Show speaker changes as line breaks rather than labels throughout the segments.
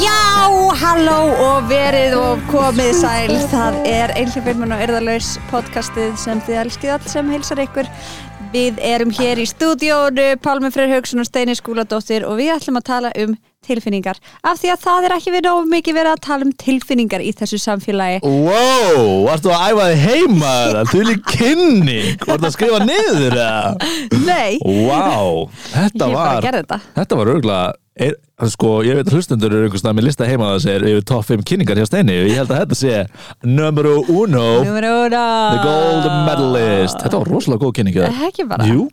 Já, halló og verið og komið sæl Það er Einhleifirmann og Erðalaus podcastið sem þið elskið allt sem heilsar ykkur Við erum hér í stúdíónu, Pálmi Freyr Hauksson og Steini Skúladóttir og við ætlum að tala um tilfinningar af því að það er ekki verið of mikið verið að tala um tilfinningar í þessu samfélagi
Wow, varstu að æfa þig heima það? Þú lík kynni, varstu að skrifa niður það?
Nei,
Wow, þetta
Ég bara
var,
gerði þetta.
var örgulega, sko, ég veit að hlustundur eru einhvers veginn með lista heima það sér yfir top 5 kynningar hjá Steini og ég held að þetta sé numero uno,
nummer úna
the gold medalist. Þetta var rosalega góð kynning.
Eh, ekki bara.
Jú,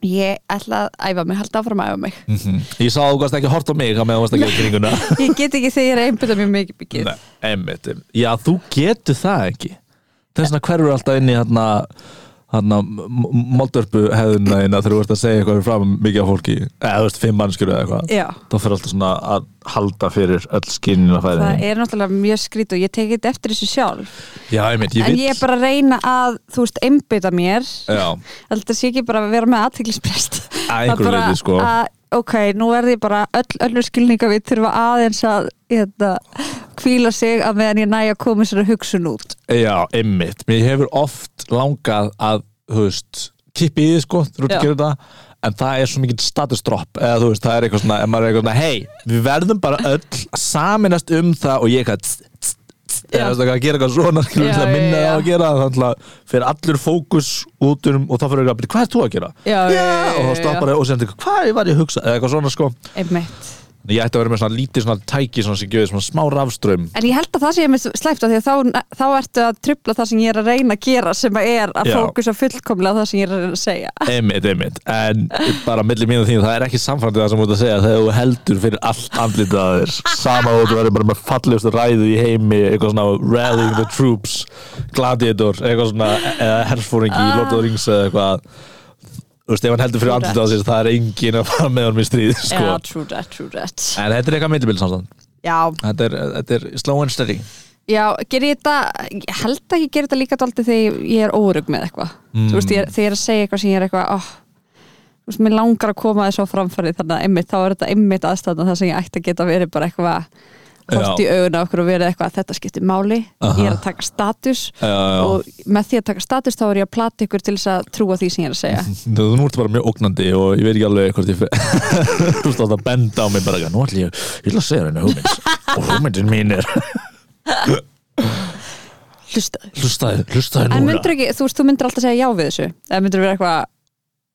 Ég ætla að æfa mig, halda áfram að æfa mig
mhm. ég sá að þú varst ekki hort á mig að með þú varst ekki að kynninguna.
Ég get ekki þegar ég er að einbyrða mjög mikið mikið
Nei, einmitt, einmitt. Já, þú getur það ekki Þess vegna hverfur alltaf inn í hérna hérna moldörpu hefðuna þína þegar þú ert að segja eitthvað fram mikið af fólki eða þú veist fimm mannskjöru eða eitthvað
Já.
þá fyrir alltaf svona að halda fyrir öll skinnina færi
Það er náttúrulega mjög skrít og ég tekið þetta eftir þessu sjálf
Já, einmitt, ég
En
vil
ég er bara að reyna að, þú veist, einbyta mér
Já,
Þetta sé ekki bara að vera með aðteglisprest
Að einhverju leyti, sko.
að, Ok, nú verði ég bara öll önnur skilninga við þurfa aðeins að hérna, hvíla sig að meðan ég næja að koma sér að hugsun út
já, einmitt Mér hefur oft langað að þú veist, kippi í því sko þú ert
Já.
að gera þetta en það er svo mikið status drop eða þú veist, það er eitthvað svona, en maður er eitthvað svona hei, við verðum bara öll að saminast um það og ég eitthvað tss, tss, tss,
Já.
eða þú veist, eitthvað að gera eitthvað svona skilur
Já,
til að
já,
minna
já.
það að gera þannig að fyrir allur fókus út um og þá fyrir eitthvað að byrja, hvað er þú að gera?
Já, já, já,
og
já,
þá stoppar það og sem þetta, hvað var ég að hugsa? eða eitthvað svona sko,
Einmitt
En ég ætti að vera með svona lítið svona tæki svona sem gefið svona smá rafströym
En ég held að það sé mér slæmt af því að þá, þá ertu að trubla það sem ég er að reyna að gera sem að er að
Já.
fókusa fullkomlega á það sem ég er að reyna að segja
einmitt, einmitt, en bara millir mínu þín, það er ekki samfændið það sem þú ert að segja þegar þú heldur fyrir allt andlitið að þér sama og þú verður bara með fallegustu ræðu í heimi, eitthvað svona rallying the troops, gladiator eitthvað svona, eða herfóringi í Lord of the Rings eða eitthvað þú veist, ef hann heldur fyrir andlitið að þér, það er engin að fara með honum í stríð, sko
Já, true that, true that
en þetta er eitthvað millibild samstand
Já,
þetta er, þetta er slow and steady
Já, gerir ég þetta, ég held að ég gerir þetta líka dálítið þegar ég er órug með eitthvað þú
Mm.
veist, ég, er- þegar ég er að segja eitthvað sem ég er eitthvað oh, þú veist, mér langar að koma þessu á framfæri þannig að einmitt, þá er þetta einmitt aðstæðan það sem ég ætti að geta verið bara eitthvað hort í augun á okkur og verið eitthvað að þetta skiptir máli ég er að taka status
Já, já.
og með því að taka status þá er ég að plata ykkur til þess að trúa því sem ég er að segja
Þú nú ertu bara mjög ógnandi og ég veit ekki alveg hvort ég fer Þú státt að benda á mig bara eitthvað, Nú ætlum ég, ég ætla að segja henni hugmynd og hugmyndin mín er
Hlustaðu.
Hlustaði, hlustaði
En
núna
myndur ekki, þú veist, þú myndur alltaf segja já við þessu eða myndur vera eitthvað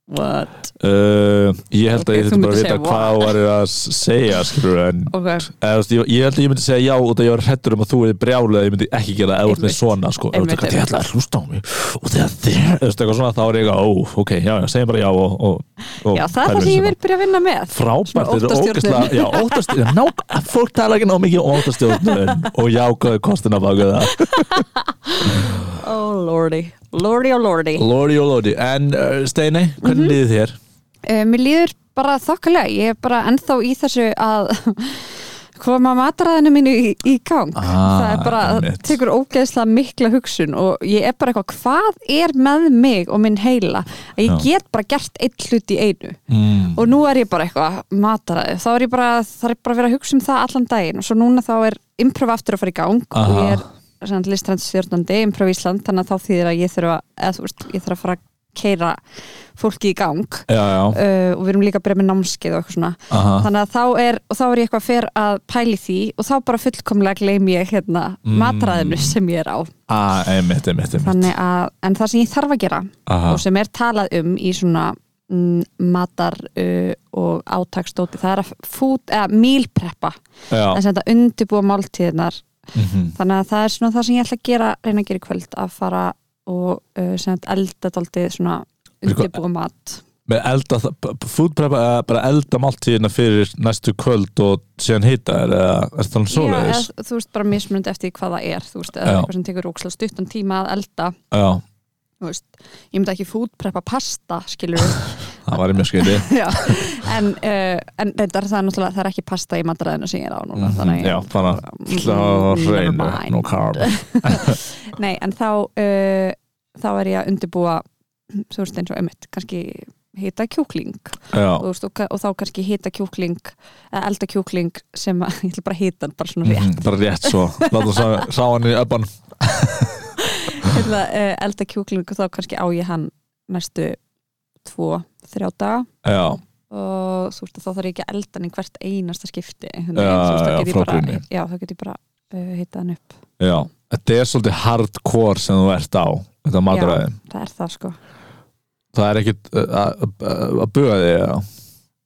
what,
uh, Ég held
Ok,
að ég
þú
þurfti bara
myndir
að
segja
vita hvað var ég að segja skilur en
ok
eða, þú veist, ég, ég held að ég myndi segja já út að ég var hrettur um að þú er brjálu eða ég myndi ekki gera eða út með
Einmitt.
svona sko, Ef þú ert
Einmitt,
eitthvað, ég ætla að hlusta á mig og þegar þér, þú veist eitthvað svona þá er ég eitthvað, ó, ok, já, já, segjum bara já og, og, og
Já, það er
pælum
það sem
í þessu
ég vil byrja að vinna með
frábært, þetta
Svona
er
óttastjórnun.
ógæslega já, óttastjórnun, ná, fólk tala ekki ná mikið um óttastjórnun og jákaðu kostina baku það
Oh lordy, lordy og lordy
Lóri og Lóri, en uh, Steini,
Mhm.
hvernig líði þér?
uh, Mér líður bara þokkalega Ég er bara ennþá í þessu að koma mataraðinu mínu í, í gang
Ah,
Það er bara, það
einmitt.
tekur ógeðslega mikla hugsun og ég er bara eitthvað hvað er með mig og minn heila að ég
Já.
get bara gert einn hlut í einu
Mm.
og nú er ég bara eitthvað mataraði þá er ég bara, það er bara að vera að hugsa um það allan daginn og svo núna þá er improv aftur að fara í gang og
Aha.
ég er listrænsstjórnandi improv Ísland þannig að þá þýðir að ég þurfa eða þú veist, ég þarf að fara að keira fólki í gang
Já, já,
uh, og við erum líka að byrja með námskeið og eitthvað svona
aha
þannig að þá er, og þá er ég eitthvað fyrr að pæli því og þá bara fullkomlega gleym ég hérna
Mm.
matræðinu sem ég er á
að, einmitt, einmitt, einmitt
þannig að, en það sem ég þarf að gera
Aha.
og sem er talað um í svona mm, matar uh, og átakstóti, það er að food, eða mílpreppa,
já,
þess að þetta undirbúa máltíðinar,
mhm,
þannig að það er svona það sem ég ætla að gera, reyna að gera í kvöld að fara og uh, sem þetta elda daldið svona
Eitthvað-
undirbúa mat
með elda það- b- b- food prep, eða bara elda máltíðina fyrir næstu kvöld og síðan hita er, eða, er það um svoleiðis?
eða, þú veist bara mismunandi eftir því hvað það er þú veist, eða
Já.
eitthvað sem tekur ókslega stuttan tíma að elda,
Já,
þú veist ég myndi ekki fútpreppa pasta, skilur
það var í mjög skeiti
Já, en, uh, en þetta er það er náttúrulega það er ekki pasta í mataræðinu sem ég er á núna þannig
Mhm,
að
Já,
ég-
þannig að það
Mm, never
reynu,
mind.
no carb
eh, Nei, en þá uh, þá er ég að undirbúa þú veist eins og einmitt, kannski hita kjúkling
Já,
og, þú veist, og, ka- og þá kannski hita kjúkling eða elda kjúkling sem að, ég ætla bara að hita hann bara svona rétt
Mhm, bara rétt svo Látum sá, sá hann í öppan
ég ætla að Hérna, eh, elda kjúkling og þá kannski á ég hann næstu tvo, þrjá daga
Já,
og þú veist að þá þarf ég ekki að elda hann í hvert einasta skipti einhvern
Já,
veginn, þú veist,
já,
þá get ég
frá
bara-
grunni.
já, þá get ég bara uh, hitta hann upp
já Þetta er svolítið hardcore sem þú ert á Þetta mataræði
það er það sko
Það er ekkit uh, að að- að buga þig já.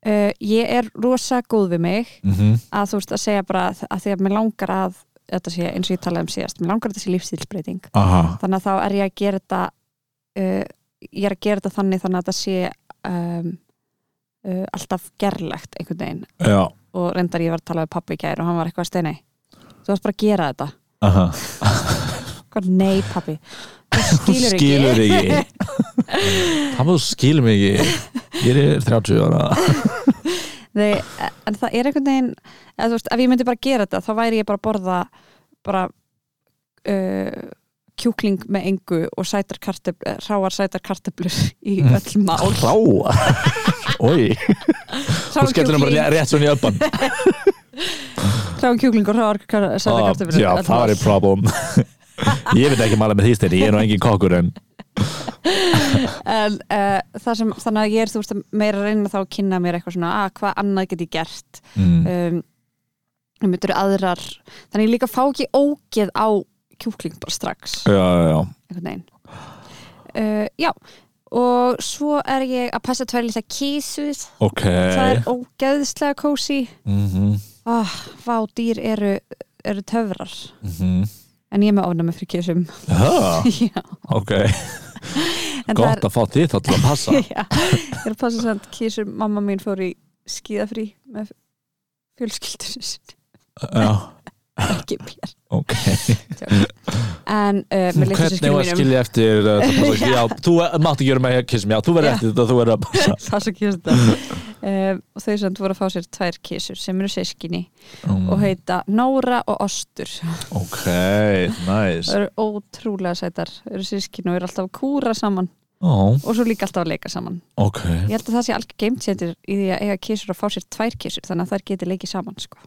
uh, ég er rosa góð við mig
Mhm.
að þú veist að segja bara að, að því að mér langar að þetta sé eins og ég talaði um síðast mér langar að þetta sé lífstílsbreyting
Aha,
þannig að þá er ég að gera þetta uh, ég er að gera þetta þannig þannig að þetta sé um, uh, alltaf gerlegt einhvern veginn
já
og reyndar ég var að tala við pappi í gær og hann var eitthvað að steina þú varst bara að gera þetta
Aha.
Hvað, nei pappi þú skilur ekki
Skilur ekki Það maður skilur mig ekki Ég er 30 ára
Nei, en það er einhvern veginn eða, þú veist, ef ég myndi bara gera þetta þá væri ég bara að borða bara uh, kjúkling með engu og sætar kartöf, ráar sætar kartöflur í
Mm.
öll mál
Ráa Oi, þú
ráan
skellir hann bara ré-
kjúkling,
rétt svo í öppan
ráan kjúkling og ráar kar- sætar
Ah,
kartöflur í
Já,
öll
það
mál.
er problem Ég veit ekki mála með því steini, ég er nú engin kokkur en
en, uh, það sem, þannig að ég er þú veist, meira að reyna þá að kynna mér eitthvað svona að hvað annað get ég gert
mm.
um, um þetta eru aðrar þannig ég líka fá ekki ógeð á kjúkling bara strax
Já, já, já
einhvern veginn uh, já og svo er ég að passa tvær litla kísus
Ok
það er ógeðslega kósi
mm -hmm.
oh, vá dýr eru, eru töfrar
Mm
en ég er með ofnæmi fyrir kísum já,
Ok,
en það
Ah, gott að fá þið þá til að passa
er já, ég er að passa samt kísum mamma mín fór í skíðafrí með fjölskyldunus
Já,
ekki mér
ok
en uh, með
Hvernig
litlu
var
sískinu
að
mínum
skilja eftir uh, það passa ekki? Já, þú eh, mátt ekki gera með kissum, já, þú verður
Já.
eftir þetta, þú verður að passa
það sem kýrst það um, og þau samt voru að fá sér tvær kísur sem eru sískinni
Mm,
og heita Nóra og Ostur
Ok,
það
nice
eru ótrúlega sætar eru sískinni og eru alltaf að kúra saman
Ó,
og svo líka alltaf að leika saman
Ok,
ég held að það sé algjör geimtjendur í því að eiga kísur og fá sér tvær kísur þannig að þær geti leikið saman sko,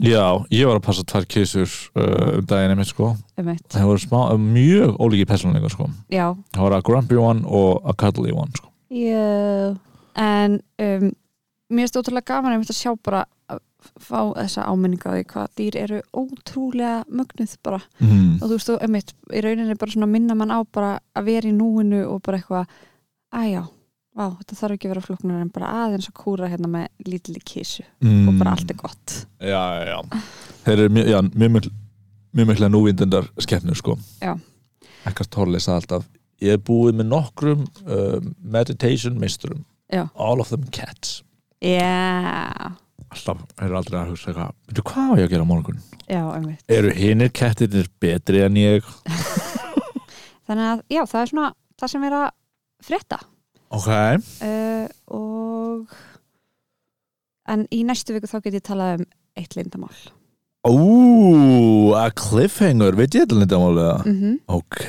já, ég var að passa tvær kissur uh, um daginn einmitt sko
um eitt
Það voru smá, uh, mjög ólíki persónleika sko
já,
Það var að grumpy one og að cuddly one sko.
yeah. en um, mér finnst ótrúlega gaman einmitt að sjá bara að fá þessa áminninga á því hvað dýr eru ótrúlega mögnuð bara
mm.
og þú veist þú, einmitt, í rauninni bara svona minna mann á bara að vera í núinu og bara eitthvað, aðjá vá, þetta þarf ekki að vera flóknar en bara aðeins að kúra hérna með lítilli kísu
Mm.
og bara allt er gott
Já, já, já Þeir eru mjög, já, mjög mikl mjög mikla núvindendar skeppnur sko
Já.
Ekkert Tolle sagði alltaf Ég er búið með nokkrum uh, meditation meisturum
Já.
All of them cats
yeah.
Alltaf, þeir eru aldrei að hugsa eitthvað "Bíddu, Hvað á ég að gera á morgun?
já, einmitt
Eru hinir kettirnir betri en ég?
þannig að, já, það er svona það sem er að frétta
Ok
uh, og en í næstu viku þá get ég talað um eitt lindamál
Ú, a cliffhanger, veit ég þetta lindamáli það?
mm -hmm.
Ok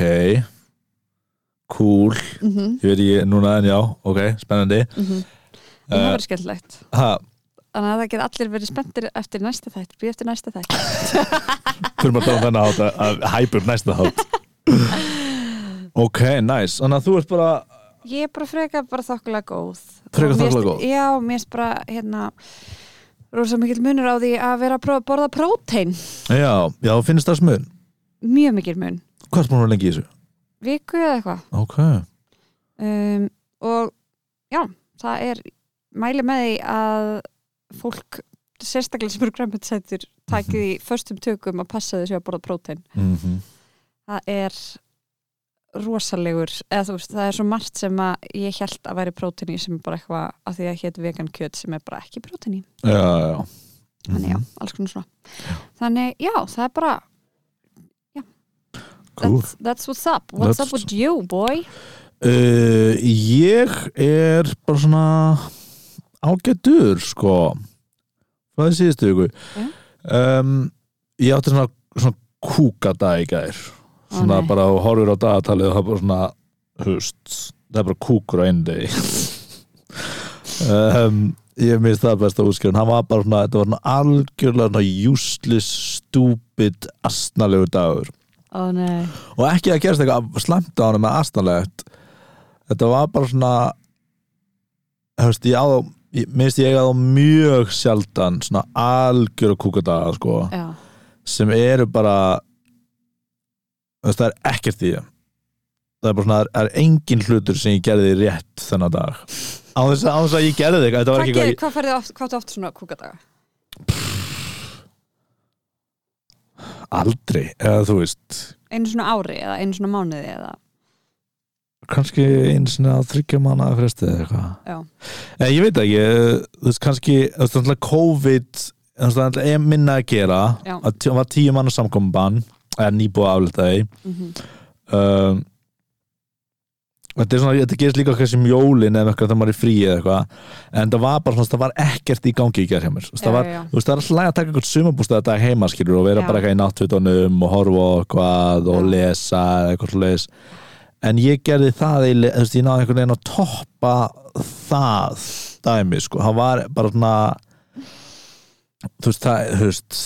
Cool
Mm -hmm.
Ég veit ekki núna en já, ok, spennandi
mhm.
uh,
það verður skemmtilegt
ha,
þannig að það get allir verið spenntir eftir næsta þætt, býð eftir næsta þætt
Þurfum að tala um þennan hátt að- að hæpa upp næsta hátt Ok, nice Þannig að þú ert bara
Ég er bara frekar bara þokkulega góð
Frekar
Og mér
þokkalega
finnst-
góð?
Já, mér finnst bara hérna rosa mikill munur á því að vera að prófa að borða prótein
Já, já, þú finnst það smun
mjög mikill mun,
Hvað er smunum lengi í þessu?
viku eða eitthvað
Ok
um, og já, það er mæli með því að fólk sérstaklega sem eru græmmetisættur takið í förstum tökum að passa þessu að borða prótein
mm
það er rosalegur, eða þú veist, það er svo margt sem að ég held að væri prótein í sem er bara eitthvað að því að hétt vegan kjöt sem er bara ekki prótein í
Já, já
þannig já, alls konar svona þannig Mhm. já, það er bara
Cool
that's, that's what's up, what's
That's-
up with you boy
uh, Ég er bara svona ágættur sko Hvað er síðustu ykkur?
Já.
Um, ég átti svona, svona kúkadag í gær
Ó,
Svona
nei.
bara og horfir á dagatalið og það er bara svona hust Það er bara kúkur á einu degi um, ég minnst það besta útskjörn hann var bara svona, þetta var svona algjörlega svona useless, stupid astnalegu dagur
Ó nei
og ekki að gerast eitthvað slæmt á hann með astnalegt þetta var bara svona hefst, ég á þá ég- minnst ég eiga þá mjög sjaldan svona algjör kúkadaga sko,
Já,
sem eru bara þú veist, það er ekkert í þeim. það er bara svona, það er engin hlutur sem ég gerði rétt þennan dag á þess að, á þess að ég gerði eitthvað þetta var
hvað,
ekki eitthvað
gerir,
ég-
hvað færðu oft, hvað áttu oft svona kúkadaga?
aldrei, eða þú veist
Einu svona ári eða einu svona mánuði eða
kannski eins og þryggja manna að fresti eða eitthvað
Já,
Nei, ég veit ekki, eh, þú veist kannski þú veist náttúrulega COVID eh, þú veist náttúrulega er minna að gera
Já.
að tí- var tíu manna samkomban en nýbúið aflitaði
mm
um, þetta er svona, þetta gerist líka kannski um jólin eða eitthvað þegar maður er í frí eða eitthvað en það var bara svona, það var ekkert í gangi í gerð hjá mér, þú veist, það
Já,
var
já, já.
Þú veist, það er alltaf að taka eitthvað sumabústað þetta heima skilur og vera
Já.
bara eitthvað í náttfjötunum og horfa á eitthvað og
Já.
lesa eða eitthvað svo leis en ég gerði það, eiginlega- þú veist, ég náði einhvern veginn að toppa það dæmi, sko, það var bara svona þú veist, það, þú veist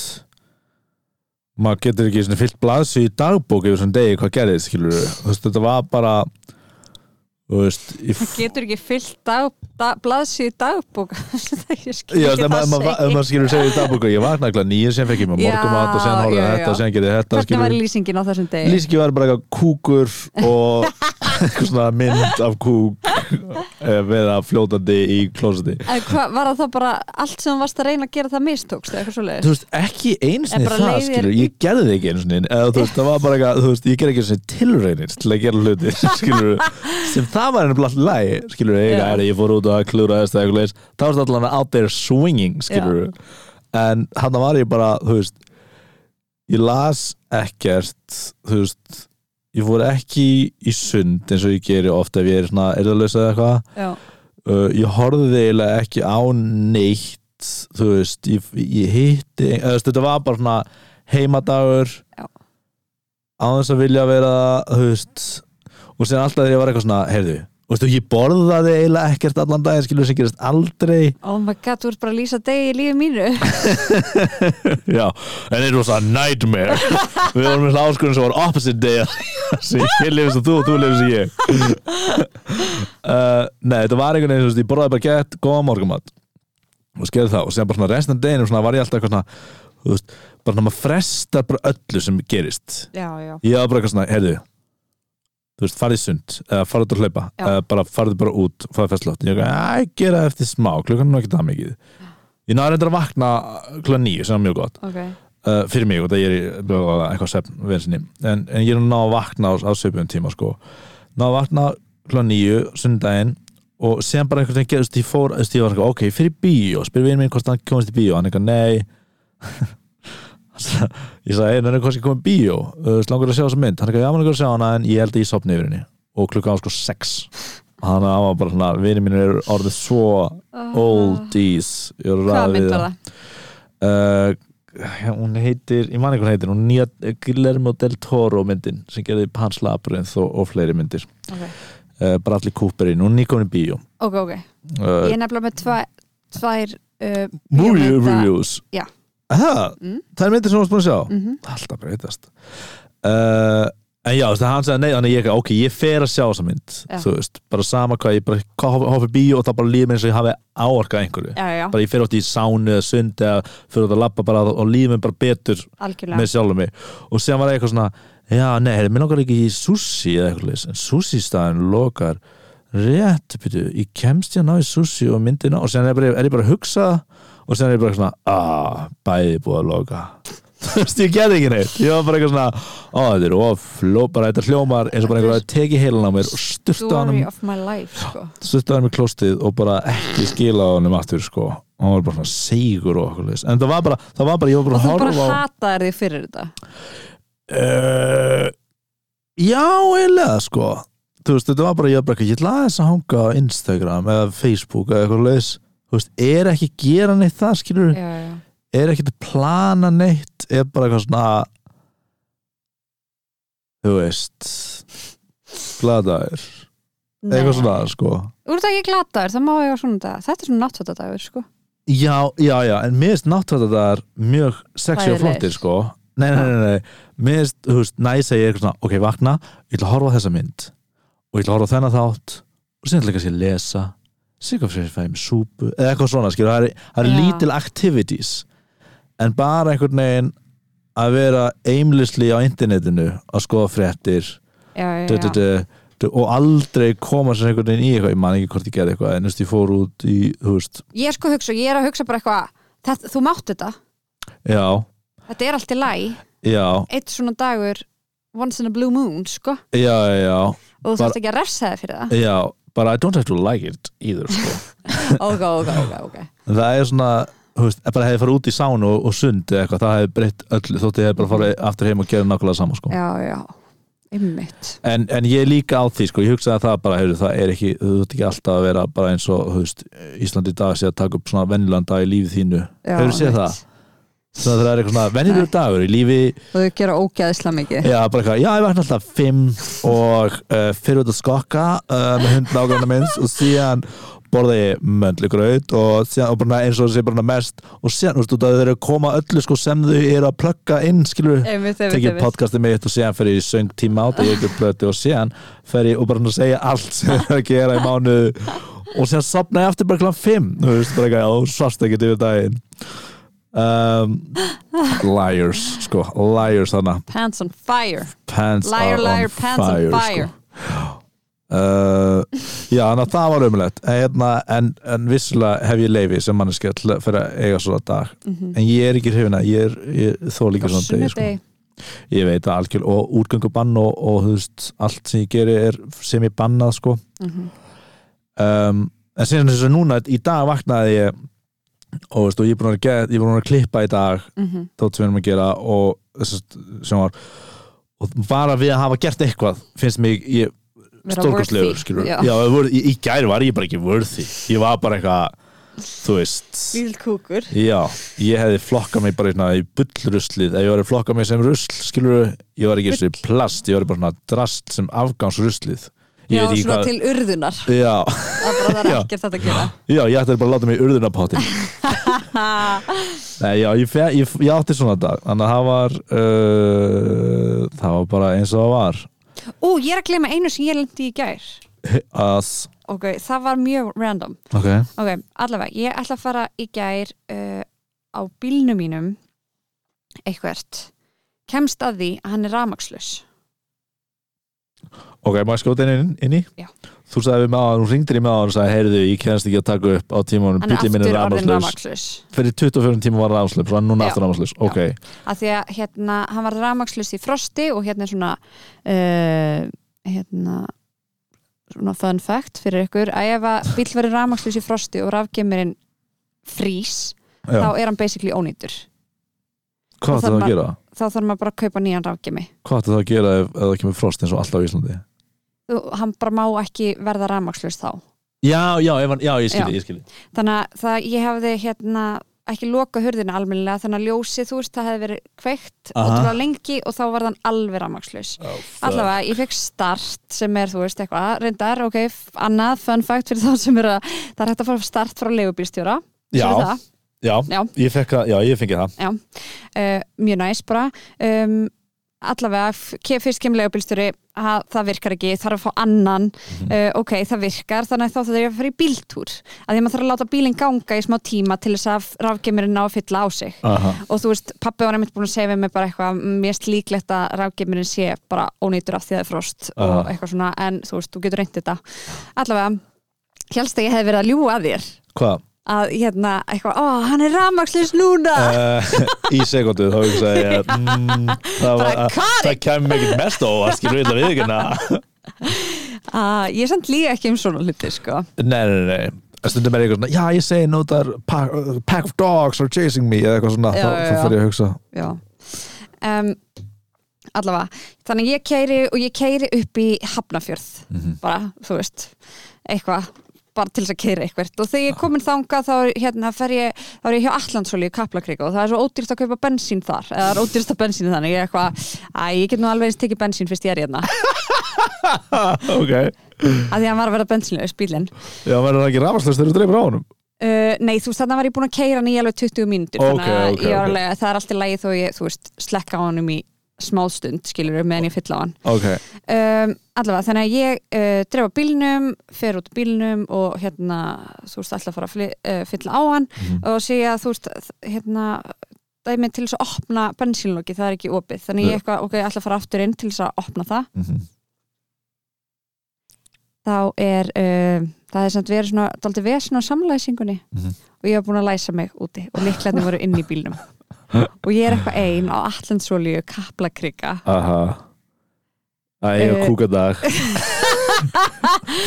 maður getur ekki svona fyllt blaðsig í dagbók yfir svona degi hvað gerðið, skilur þú veist, þetta var bara þú veist, ég
það getur ekki fyllt dag, dag, blaðsíð dagbók Ég skil
Já, ef
ekki það
maður- ef maður ef
segja
maður skilur segja í dagbúku ég vaknaði ekki nýju, sem fekk ég mér
Já,
morgumat og sen horfði
já,
á þetta
já.
og sen gerði ég þetta
Hvernig var
skilur.
lýsingin á þessum degi?
Lýsingi var bara eitthvað kúkur og eitthvað svona mynd af kúk eh, vera fljótandi í klósiti
En hvað, var það þá bara allt sem þú varst að reyna að gera það mistókst eða eitthvað svo
Þú veist, ekki
En
einsinni
bara
það
leið þér
skilur, ég gerði það ekki einsinni eða þú veist, það var bara eitthvað, þú veist, ég gerði ekki einsinni tilraunir til að gera hluti skilur, sem það var ennum alltaf lægi skilur, ég,
Já.
er, ég fór út og klúra þess það var það allan out there swinging skilur, en hann var ég bara, þú veist ég las ekkert þú veist, ég fór ekki í sund eins og ég geri ofta ef ég er svona erðalösa eða eitthvað
Já,
uh, ég horfði eiginlega ekki á neitt þú veist, ég, ég hitti eða, þú veist, þetta var bara svona heimadagur
Já.
á þess að vilja vera þú veist, og sen alltaf þegar ég var eitthvað svona heyrðu, þú veist, og ég borðaði eiginlega ekkert allan daginn, skilur sem gerist aldrei
oh my god, þú ert bara að lýsa degi í lífi mínu
já, en it was a nightmare við vorum með áskurinn sem var opposite day sem ég lifist og þú og þú lifist og ég uh, nei, þetta var einhvern veginn þú veist, ég borðaði bara gett góða morgumat og skerði það og sem bara svona restan deginum svona var ég alltaf eitthvað svona þú veist, bara svona maður frestar bara öllu sem gerist
Já, já,
ég var bara eitthvað svona, heyrðu þú veist, farið sund, eða farið út að hlaupa
Já.
eða bara farið bara út, farið festlátt ég var eitthvað, að gera það eftir smá, klukkan er nú ekki það mikið ég náður reyndar að vakna klukkan nýju, sem er mjög gott
ok
uh, fyrir mig og það ég er í bla, bla, bla, eitthvað svefn vinsinni en, en ég er nú ná að vakna á, á svipum tíma sko. ná að vakna klá nýju sundaginn og sem bara einhvern veginn gerðist ég fór, þú veist, ég var eitthvað, ok, ég fyrir bíó spyr við minn hvort hann komist í bíó hann eitthvað, nei Hann sagði- ég sagði, einu, hann er hvort ég komið í bíó uh, langar að sjá þessa mynd, hann eitthvað, já, hann er að sjá hana en ég held að ég sopni yfir henni og klukkan var sko sex hann var bara svona, vinir minn er orðið svo oldies ég var að
Hvað
ræða við
mynd
það
var það?
uh, hún heitir, ég man ekki hvað hún heitir hún nýja eh, Guillermo del Toro myndin sem gerði Pans Labyrinth og, og fleiri myndir
Ok,
uh, bara allir kúperinn, hún nýja komin í bíó
ok, ok
uh,
Ég er nefnilega með tva, tvær uh,
movie
bíómynda-
reviews
Já.
Aha,
Mm.
það er myndir sem hún spúin að sjá
Mhm.
alltaf breytast uh, en já, þess að hann segja nei þannig ég, ok, ég fer að sjá þessa mynd
Já.
þú veist, bara sama hvað, ég bara hoppa hoppa í bíó og það bara líður mér eins og ég hafi áorkað einhverju
Já, já,
bara ég fer átt í sánu eða sund eða fyrir út að labba bara og líður mér bara betur
algjörlega
með sjálfum mig og sem var eitthvað svona já, nei, heyrðu, mér langar ekki í sushi eða eitthvað leys, en sushi staðin lokar rétt, byrju, ég kemst ég að ná í sushi og myndina og sem er, bara- er ég bara að hugsa og sem er ég bara svona ah, bæði búið að loka þú veist, ég gerði ekki neitt ég var bara eitthvað svona, ó, þetta er ofló bara þetta hljómar eins og bara einhver að teki heilan á mér og styrta
Story
honum
of my life, sko
styrta honum í klóstið og bara ekki skila honum aftur, sko og hann var bara svona sigur og okkur leys en það var bara, það var bara, ég var bara
Og
að
þú
horfa á-
bara hataðir þig fyrir þetta
Uh, já, eiginlega sko Þú veist, þetta var bara, ég var bara ekki ég ætla aðeins að hanga á Instagram eða Facebook eða eitthvað leis Þú veist, er ekki að gera neitt það, skilur
Já, já,
er ekki að plana neitt er bara eitthvað svona þú veist gladaður eitthvað svona sko
Úr það ekki glataður, það má eiga svona dag Þetta er svona náttfötadagur, sko
Já, já, já, en mér finnst náttúrulega mjög sexy og
Hræðilegir.
flottir sko Nei, nei, nei, nei, mér finnst, þú veist, næs að ég er eitthvað svona, ok, vakna, ég ætla að horfa á þessa mynd og ég ætla að horfa á þennan þátt og síðan ætla ég kannski að lesa sigur fyrir fæm, súpu, eða eitthvað svona skilur, það er, það er
Já.
lítil activities en bara einhvern veginn að vera aimlessly á internetinu að skoða fréttir
Já, já,
du, du,
já,
du, du, og aldrei koma sér einhvern veginn í eitthvað, ég man ekki hvort ég gerði eitthvað en þú veist, ég fór út í, þú veist,
Ég er sko að hugsa, ég er að hugsa bara eitthvað þetta- Þú mátt þetta,
já
þetta er allt í læ
Já,
Eitt svona dagur, once in a blue moon, sko
já, já,
Og þú
Bara-
þarfst ekki að refsa það fyrir það
já bara I don't have to like it either sko.
Ok, ok, ok, ok
það er svona, þú veist, ef bara hefði farið út í sánu og, og sund eða eitthvað, það hefði breytt öllu þótt ég hefði bara farið aftur heim og gera nákvæmlega sama sko.
Já, já, ymmit
en, en ég er líka á því, sko, ég hugsaði að það bara hefur, það er ekki, þú veist ekki alltaf að vera bara eins og, þú veist, Íslandi í dag sé að taka upp svona venjulegan dag í lífi þínu
Já,
hefur séð það,
einmitt.
þannig að það er eitthvað svona venjulegur dagur í lífi,
Og þau gera ógæðislega mikið
já, bara eitthvað, já, ég vakna alltaf fimm og uh, fyrir út að skokka uh, með hund nágrunna minns og síðan borða ég möndlugraut og, síðan, og bara eins og þessi bara mest og síðan, þú veist, út að þau eru að koma öllu sko sem þau eru að plugga inn, skilur
Einmitt, einmitt,
tekið
einmitt
podcastið mitt og síðan fer ég í söng tíma át og ég ekki plöti og síðan fer ég og bara að segja allt sem það er að gera í mánu og síðan sopna ég aftur bara kláðan 5 þú veist bara eitthvað, já, þú svast ekki yfir daginn um, liars sko, liars þarna
Pants on fire
pants
Liar,
are
liar,
on
pants
fire,
on fire
Sko. Uh, já, þannig að það var umlegt en, hérna, en, en vissulega hef ég leifi sem manneskja til að- fyrir að eiga svona dag
Mhm.
en ég er ekki hrifina, ég, er, ég þó líka svona degi sko.
Sunnudegi.
ég veit að algjör og útgöngubann og, og þú veist, allt sem ég geri er sem ég bannað sko
Mhm.
um, en síðan þess að núna í dag vaknaði ég og, veist, og ég er búin að, get, ég er búin að klippa í dag
Mhm.
þótt sem við erum að gera og þess að sem var og bara við að hafa gert eitthvað finnst mér ég
Vera
stórkostlegur
worthy.
skilur
Já.
já, voru, í, í gær var ég bara ekki worthy ég var bara eitthvað þú veist
Fíl kúkur
Já, ég hefði flokkað mig bara svona í bullruslið ef ég var að flokka mig sem rusl, skilur ég var ekki eins og í plast, ég var bara svona drast sem afgangsruslið Ég
Já,
veit ekki
svona
hvað-
til urðunar
Já,
Það bara það er
Já.
ekkert þetta að gera
já, ég ætti bara að láta mig í urðunapottin
Ha,
Nei, já, ég, fe, ég, ég átti svona dag þannig að það var uh, það var bara eins og það var
Ú, ég er að glema einu sem ég lendi í gær
að,
Ok, það var mjög random
ok,
Ok, allavega, ég ætla að fara í gær uh, á bílnum mínum eitthvert kemst að því að hann er ramakslaus
ok, má ég skjóta inn, inn, inn í?
Já.
Þú sagði við með á hann, hún ringdi í mig á hann og sagði, heyrðu, ég kennst ekki að taka upp á tímanum,
hann er
bíllinn minn
aftur
er
orðin
rafmagnslaus
ramakslaus
fyrir 24 tíma var rafmagnslaus, svo hann er núna
Já.
aftur rafmagnslaus ok,
að því að hérna, hann var rafmagnslaus í frosti og hérna er svona uh, hérna svona fun fact fyrir ykkur að ef að bíl verður rafmagnslaus í frosti og rafgemirinn frýs
já,
þá er hann basically ónýtur
hvað ætti það
þá þarf
að
maður-
gera?
þá þarf maður bara að kaupa nýjan rafgemi
hvað ætti það að gera ef, ef það kemur frost eins og alltaf í Íslandi
Þú- hann bara má ekki verða rafmagnslaus þá
já, já, hann, já ég
skil, Já.
ég skil
þannig að það, ég hefði hérna ekki loka hurðina almennilega þannig að ljósið þú veist það hefði verið kveikt
Aha.
ótrúlega lengi og þá var hann alveg rafmagnslaus allavega, ég fekk start sem er, þú veist, eitthvað, reyndar, ok f- annað fun fact fyrir þá sem eru að það er hægt að fara start frá leigubílstjóra
já,
Sérðu það?
já,
Já.
ég fekk það, já, ég fengi það
uh, mjög næs bara um, allavega, f- ke- fyrst kemur leigubílstjóri ha, það virkar ekki, þarf að fá annan uh, ok, það virkar, þannig að þá þarf ég að fara í bíltúr, að því að maður þarf að láta bílinn ganga í smá tíma til þess að rafgemirinn ná að fylla á sig
Aha.
og þú veist, pappi var einmitt búin að segja við mig bara eitthvað, "Mm, mér erst líklegt að rafgemirinn sé bara ónýtur af því að það er frost og
Aha.
eitthvað svona, en þú veist, þú getur reynt þetta allavega, helst að ég hef verið að ljúga að þér
hvað?
að hérna, eitthvað, ó, hann er rafmakslis núna
Uh, í sekundu þá hugsa ég að mm, það, var,
Bara,
að, það kemur ekkert mest á að skilur við það við ekki nei,
að ég samt líka ekki um svona hluti, sko
nei, nei, nei stundum er ég eitthvað svona, já, ég segi nú það er pack, pack of dogs are chasing me eða eitthvað svona,
Já,
þá,
já,
þá
já.
fer ég að hugsa
já um, allavega, þannig að ég keiri og ég keiri upp í Hafnafjörð
Mhm.
bara, þú veist, eitthvað bara til þess að keira eitthvað og þegar ég er komin þangað þá er, hérna, fer ég þá er ég hjá Allandsóli í Kaplakrík og það er svo ódýrst að kaupa bensín þar eða það er ódýrst að bensín þannig ég er eitthvað, að ég get nú alveg eins tekið bensín fyrst ég er hérna
ok
að því hann var að verða bensinlaus bílinn
já, verður það ekki rafastlust þegar þú dreifir á honum
uh, nei, þú veist, þarna var ég búin að keira hann í alveg 20 mínútur
Ok,
að
ok,
ég
ok.
var alveg, það er alltaf lægi þó ég, þú veist, slekka á honum í smástund, skilur, meðan ég fylla á hann
ok,
um, allavega, þannig að ég uh, drefa bílnum, fer út úr bílnum og hérna, þú veist, alltaf fara að fly, uh, fylla á hann
Mhm,
og segja, þú veist, þ- hérna dæmi til þess að opna bensínlóki, það er ekki opið þannig ég eitthvað, ok, alltaf fara aftur inn til þess að opna það
Mhm.
þá er uh, það er samt verið svona, daldi vesinn á samlæsingunni
Mhm.
og ég var búin að læsa mig úti og líklarnir voru inn í bílnum og ég er eitthvað ein á Allandsólíu kaplakrika
aha að ég
Eh.
er kúkadag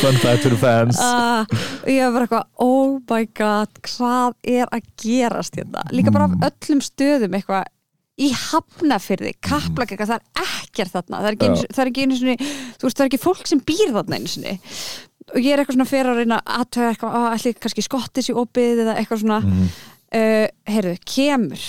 fun fact fyrir fans
Ah, og ég var bara eitthvað, oh my god hvað er að gerast hérna líka bara af öllum stöðum eitthvað í hafnafyrði, kaplak eitthvað, það er ekkert þarna það er ekki, einu,
Já.
sinni- það er ekki einu sinni, þú veist, það er ekki fólk sem býr þarna einu sinni og ég er eitthvað svona fyrir að reyna aðtöða eitthvað, að allir kannski skottis í opið eða eitthvað svona
Mhm.
uh, heyrðu, kemur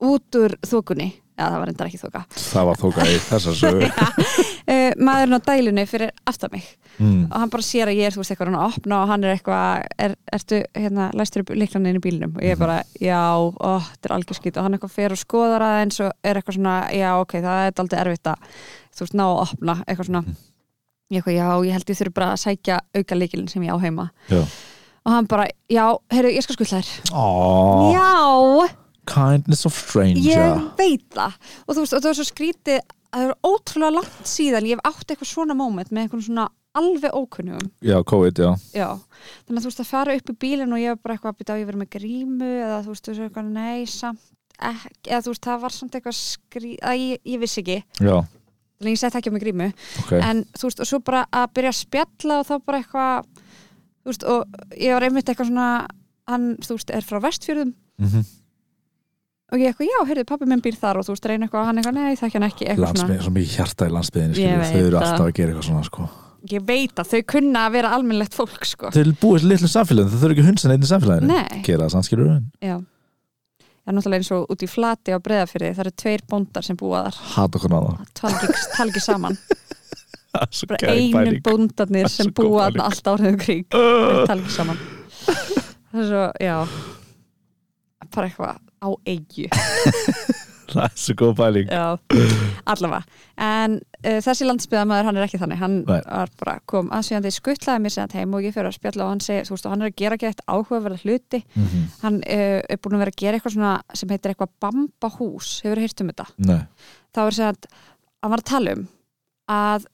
út úr þokunni, já það var enda ekki þoka
það var þóka í þessar sögur
uh, maðurinn á dælunni fyrir aftan mig
mm.
og hann bara sér að ég er, þú veist, eitthvað hann að opna og hann er eitthvað, er, ertu, hérna, læstur upp líklan inn í bílnum og ég er bara, já, ó, þetta er algjör skýt og hann eitthvað fer og skoðar aðeins og er eitthvað svona, já, ok, það er daldið erfitt að, þú veist, ná að opna, eitthvað svona, ég eitthvað, já, ég held ég þurfi bara að sækja auka líkilin sem ég á heima
já
og hann bara, já, heyrðu, ég skal skuldla þér,
Aww,
já,
kindness of stranger
ég veit það og þú veist, og það var svo skrítið að það er ótrúlega langt síðan ég hef átt eitthvað svona moment með eitthvað svona alveg ókunnum
já, COVID, já
Já, þannig að þú veist að fara upp í bílinn og ég var bara eitthvað að byrja á ég verið með grímu eða þú veist, þú veist eitthvað nei samt ekki, eða þú veist það var samt eitthvað skrí að ég, ég vissi ekki,
já,
þannig að ég sett ekki með grímu
ok
en þú veist og svo bara að byrja að spjalla og þá bara eitthvað þú veist og ég var einmitt eitthvað svona hann þú veist er frá vestfjörðum
Mhm.
og ég eitthvað já, heyrðu pappi minn býr þar og þú veist reyna eitthvað og hann eitthvað nei þekki hann ekki eitthvað
landsbyðin, svo mikið hjarta í landsbyðin
Ég veit
þau eru
það.
alltaf að gera eitthvað svona sko.
ég veit að þau kunna að vera almennlegt fólk sko.
þau eru búið til litlu samfélagin, þau þurfa ekki hunsan einn í samfélaginu
Nei.
gera það sannskilur við
Já. Já, náttúrulega eins og út í flati á breyðafyrði, það eru tveir bóndar sem búa þar,
hata okkur náða
tala ekki, tala ekki saman, bara einu
pæling.
bóndarnir
Það er
sem
svo góð
búa
pæling.
þarna allt árið um kring, þeir tala ekki saman. Það er svo, já, bara eitthvað á eigju,
það er svo góð pæling
já, allavega. En uh, þessi landsbyðamæður, hann er ekki þannig, hann
Nei.
var bara, kom aðsvíðandi skuttlaði mér sem þetta heim og ég fyrir að spjalla og hann segi, þú veist, og hann er að gera ekki eitt áhugaverða hluti,
Mhm.
hann uh, er búin að vera að gera eitthvað svona sem heitir eitthvað bambahús, hefur heyrt um þetta?
Nei.
þá er sem að hann var að tala um að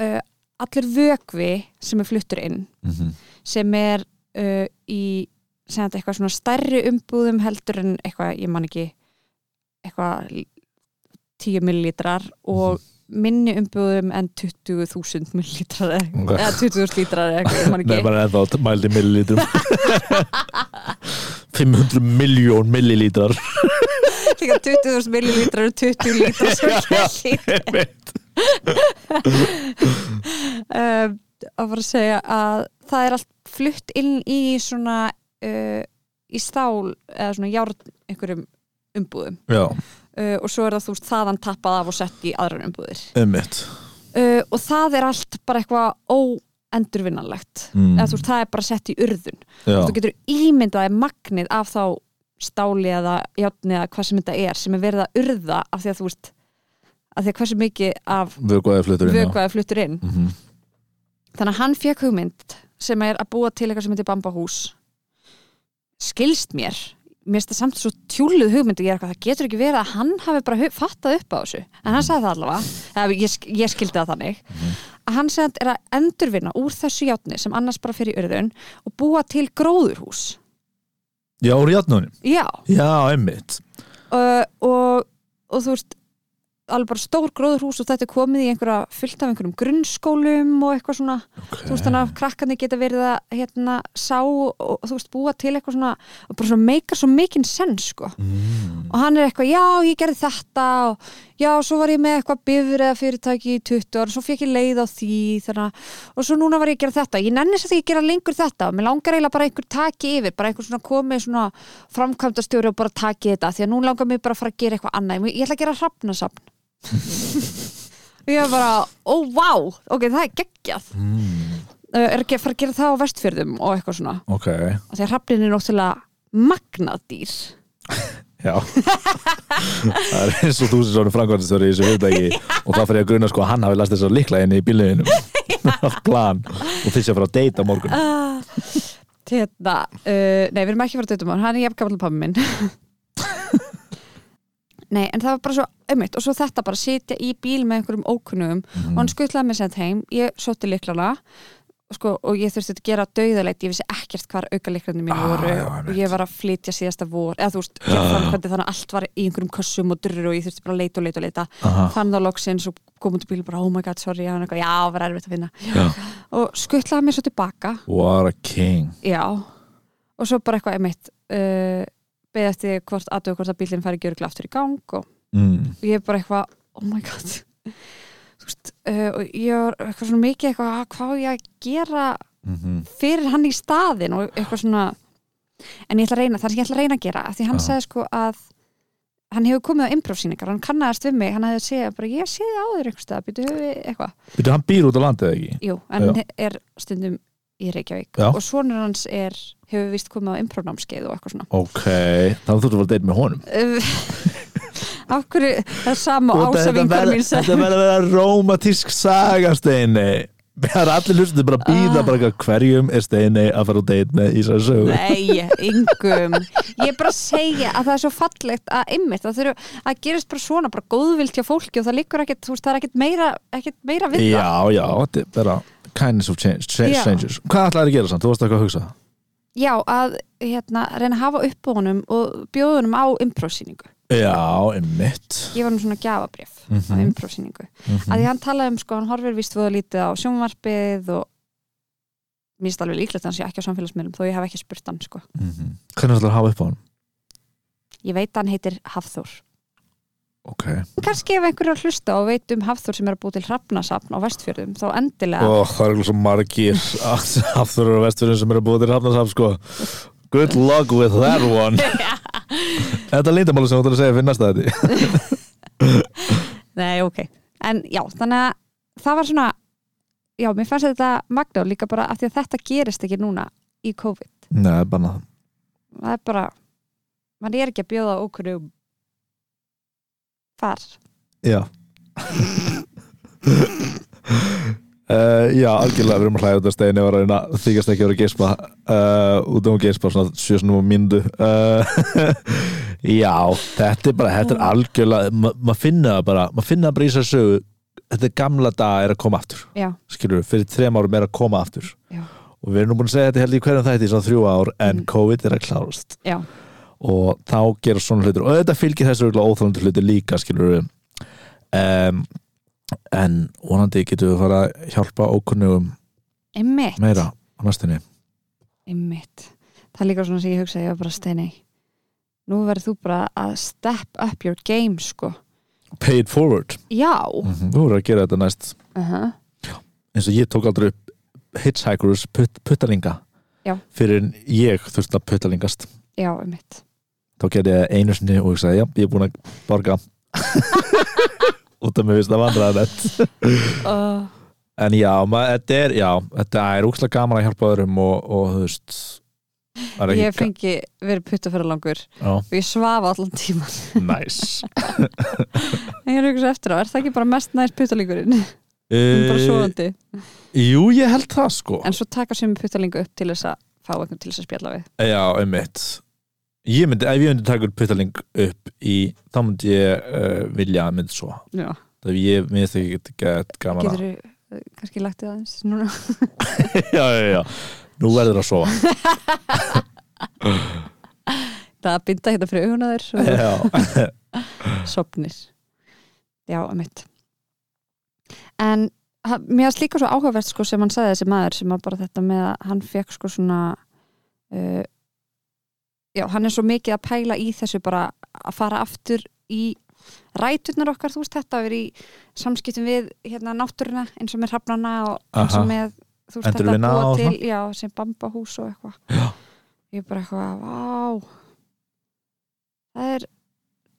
uh, allir vökvi sem er fluttur inn
Mhm.
sem er uh, í sem að eitthvað svona stærri umbúðum heldur en eitthvað, ég man ekki eitthvað l- 10 millilitrar
Mhm.
og minni umbúðum en 20.000 millilitrar eða
Ok.
eða 20.000 lítrar eða eitthvað, ég man
Nei,
ekki
bara ennþá mældi millilítrum 500 miljón millilítrar
Líka 20.000 millilitrar og 20 lítrar sem
Já, já.
ekki um, að fara að segja að það er allt flutt inn í svona uh, í stál eða svona járn einhverjum umbúðum
já,
uh, og svo er það þú veist þaðan tappað af og sett í aðrar umbúðir
ummitt
uh, og það er allt bara eitthvað óendurvinnanlegt
Mm.
eða þú veist það er bara sett í urðun
já,
þú getur ímyndaði magnið af þá stáli eða járni eða hvað sem þetta er sem er verið að urða af því að þú veist af því að hversu mikið af
vökuaði flutur inn
vökvaði fluttur inn
mm -hmm.
þannig að hann fekk hugmynd sem er að búa til eitthvað sem heitir bambahús skilst mér mér finnst það samt svo tjúluð hugmynd og ég er eitthvað, það getur ekki verið að hann hafi bara hu- fattað upp á þessu, en hann sagði það allavega eða ég, sk- ég skildi það þannig að hann sagði að er að endurvinna úr þessu játni sem annars bara fyrir urðun og búa til gróðurhús
já, úr játnunum
já,
já, ummitt
uh, og, og þú veist alveg bara stór gróðurhús og þetta er komið í einhverja fullt af einhverjum grunnskólum og eitthvað svona þú veist þannig að krakkarnir geta verið að hérna, sá og, og þú veist búa til eitthvað svona og bara svona meikar svo mikinn senn sko
Mm.
og hann er eitthvað já ég gerði þetta og já svo var ég með eitthvað bifriða fyrirtæki í 20 ára svo fekk ég leið á því þannig að og svo núna var ég að gera þetta ég nenni þess að ég gera lengur þetta og mér langar eiginlega bara að einhver taki yfir bara einhver svona komið svona framkvæmdastjóri og bara taki þetta því að nú langar mér bara að fara að gera eitthvað annað ég ætla að gera hrafnasafn og og ég var bara, ó, oh, vá, ok, það er geggjað mm. er ekki að fara að gera það á vestfjörðum og eitthvað svona,
Ok,
af því að hrafnin er náttúrulega magnadýr
já Það er eins og þú sem svona framkvæmstöri í þessu hugdæki og þá fyrir ég að gruna sko að hann hafi last þess að líkla inn í bílnuðinum allt plan og þess að fara að deyta á morgun
hérna, uh, nei, við erum ekki að fara að dötum hann, hann er jafnkvæmlega pabbi minn nei, en það var bara svo einmitt, og svo þetta bara sitja í bíl með einhverjum ókunnum
Mhm.
og hann skuttlaði mér sent heim, ég sótti liklana sko, og ég þurfti að gera dauðaleit ég vissi ekkert hvar auka liklandi mín
Ah,
voru
já, einmitt. Ah.
og ég var að flytja síðasta vor eða þú veist, gera framkvæmdi þannig að allt var í einhverjum kössum og durur og ég þurfti bara að leita og leita og leita
Aha.
fann þá loksins og kom út í bíl bara, oh my god, sorry, hann eitthvað, já, var erfitt að finna
Já.
og skuttlaði mér svo tilbaka
What a king
Já, og svo bara eitthvað einmitt uh, beðið eftir því hvort aðtöðu hvort að bílinn fari gjöruglega aftur í gang og
mm.
ég er bara eitthvað, oh my god þú veist, uh, og ég var eitthvað svona mikið eitthvað, "Ah, hvað á ég að gera
Mm
fyrir hann í staðin og eitthvað svona en ég ætla að reyna, það er sem ég ætla að reyna að gera af því hann
Já.
sagði sko að hann hefur komið á improv-sýningar, hann kannaðast við mig hann hefði segið bara, ég sé þið áður einhvers stað býtu höfu eitthvað,
Býtu, hann býr út á landið ekki?
jú, en
Já.
er stundum í Reykjavík
Já.
og sonur hans er, hefur vist komið á improv-námskeið og eitthvað svona
Ok, þannig að þú ert að fara að deyta með honum
Uh, af hverju það er sama
Og þetta
ásafingar
verð-
mín sem
Þetta verður að vera rómatísk saga Steini Það er allir hlustið bara að býða
Ah.
bara eitthvað, hverjum er Steini að fara að deyta með í þessari sögu
Nei, yngum Ég er bara að segja að það er svo fallegt að ymmit, það þurfu að gerist bara svona bara góðvild hjá fólki og það liggur ekkit þú veist, það er ekkit meira, ekkit meira við það
Já, já, þetta er bara kindness of change, change,
Já.
strangers Hvað ætlaði að gera samt? Þú varst eitthvað að hugsa
Já, að hérna, reyna að hafa upp á honum og bjóða honum á imprófsýningu
Já, einmitt Mhm,
Ég var nú svona gjafabrif mm -hmm. á imprófsýningu að því hann talaði um, sko, hann horfir vist voða lítið á sjónvarpið og mér finnst alveg líklegt að hann sé ekki á samfélagsmiðlum þó ég hef ekki spurt hann, sko
mm -hmm. Hvernig ætlaði að hafa upp á hann?
Ég veit að hann heitir Hafþór
Ok,
kannski ef einhverju að hlusta og veit um Hafþór sem er að búi til hrafnasafn á vestfjörðum þá endilega
og það er eitthvað svo margir afturur og vesturinn sem eru að búið til hafnarsaf sko. Good luck with that one Þetta er lindamáli sem þú ætlaði að segja finnast það þetta
Nei, ok En já, þannig að það var svona Já, mér fannst þetta magna og líka bara af því að þetta gerist ekki núna í COVID
Nei, bara
Það er bara mann er ekki að bjóða okkur um far
Já Uh, já, algjörlega við erum að hlæða út af steinu og reyna að þykast ekki að vera að gespa uh, út af að gespa svona sjösnum og myndu uh, Já, þetta er bara þetta er algjörlega, ma- maður finna það bara maður finna það bara í þessari sögu þetta gamla dag er að koma aftur
Já,
skilur við, fyrir þrem árum er að koma aftur
já,
og við erum nú búin að segja þetta held í hverjum þætti í svona þrjú ár en
Mm.
COVID er að klárast
já,
og þá gera svona hlutur og þetta fylgir þessu óþálandi hlutur líka skilur við um, en vonandi getum við fara að hjálpa ókunnugum
einmitt
meira á næstunni
Einmitt. Það er líka svona sem ég hugsaði, ég var bara steini Nú verður þú bara að step up your game, sko
pay it forward,
Já,
mm -hmm. þú verður að gera þetta næst
uh -huh.
eins og ég tók aldrei upp hitchhikers put, puttalinga
Já.
fyrir en ég þurfti að puttalingast
já, einmitt
þá gerði ég það einu sinni og ég sagði já, ég er búin að borga út af mér finnst það vandræðanett
uh,
En já, maður, þetta er, já, þetta er úkslega gaman að hjálpa öðrum og, og þú veist það er ekki-
ég fengi verið puttafæra langur
Já,
og ég svafa allan tíman
næs
en ég er hugsa eftir á, er það ekki bara mest næst puttalingurinn hún er bara
nice.
svoandi,
Eh, Jú, ég held það sko
en svo taka sem puttalingu upp til þess að fá einhvern til þess að spjalla við
Já, einmitt Ég myndi, ef ég myndi taka puttaling upp í þá myndi ég uh, vilja að myndi svo
Já,
það er ég myndi ekki get, get gaman að
getur þú eh, kannski lagt þið aðeins núna
Já, já, já, nú verður að sofa
það að binda hérna fyrir augun að þér svo
Já,
sopnir já, um mitt en ha- mér varst líka svo áhugavert sko, sem hann sagði þessi maður sem að bara þetta með að hann fekk sko svona uh, já, hann er svo mikið að pæla í þessu bara að fara aftur í ræturnar okkar, þú veist þetta við í samskiptum við hérna náttúruna eins og með hrafnana og eins
Aha.
og með þú veist þetta
Endurvinna
að búa
og
til já, sem bambahús og eitthvað
Já.
ég er bara eitthvað, vá það er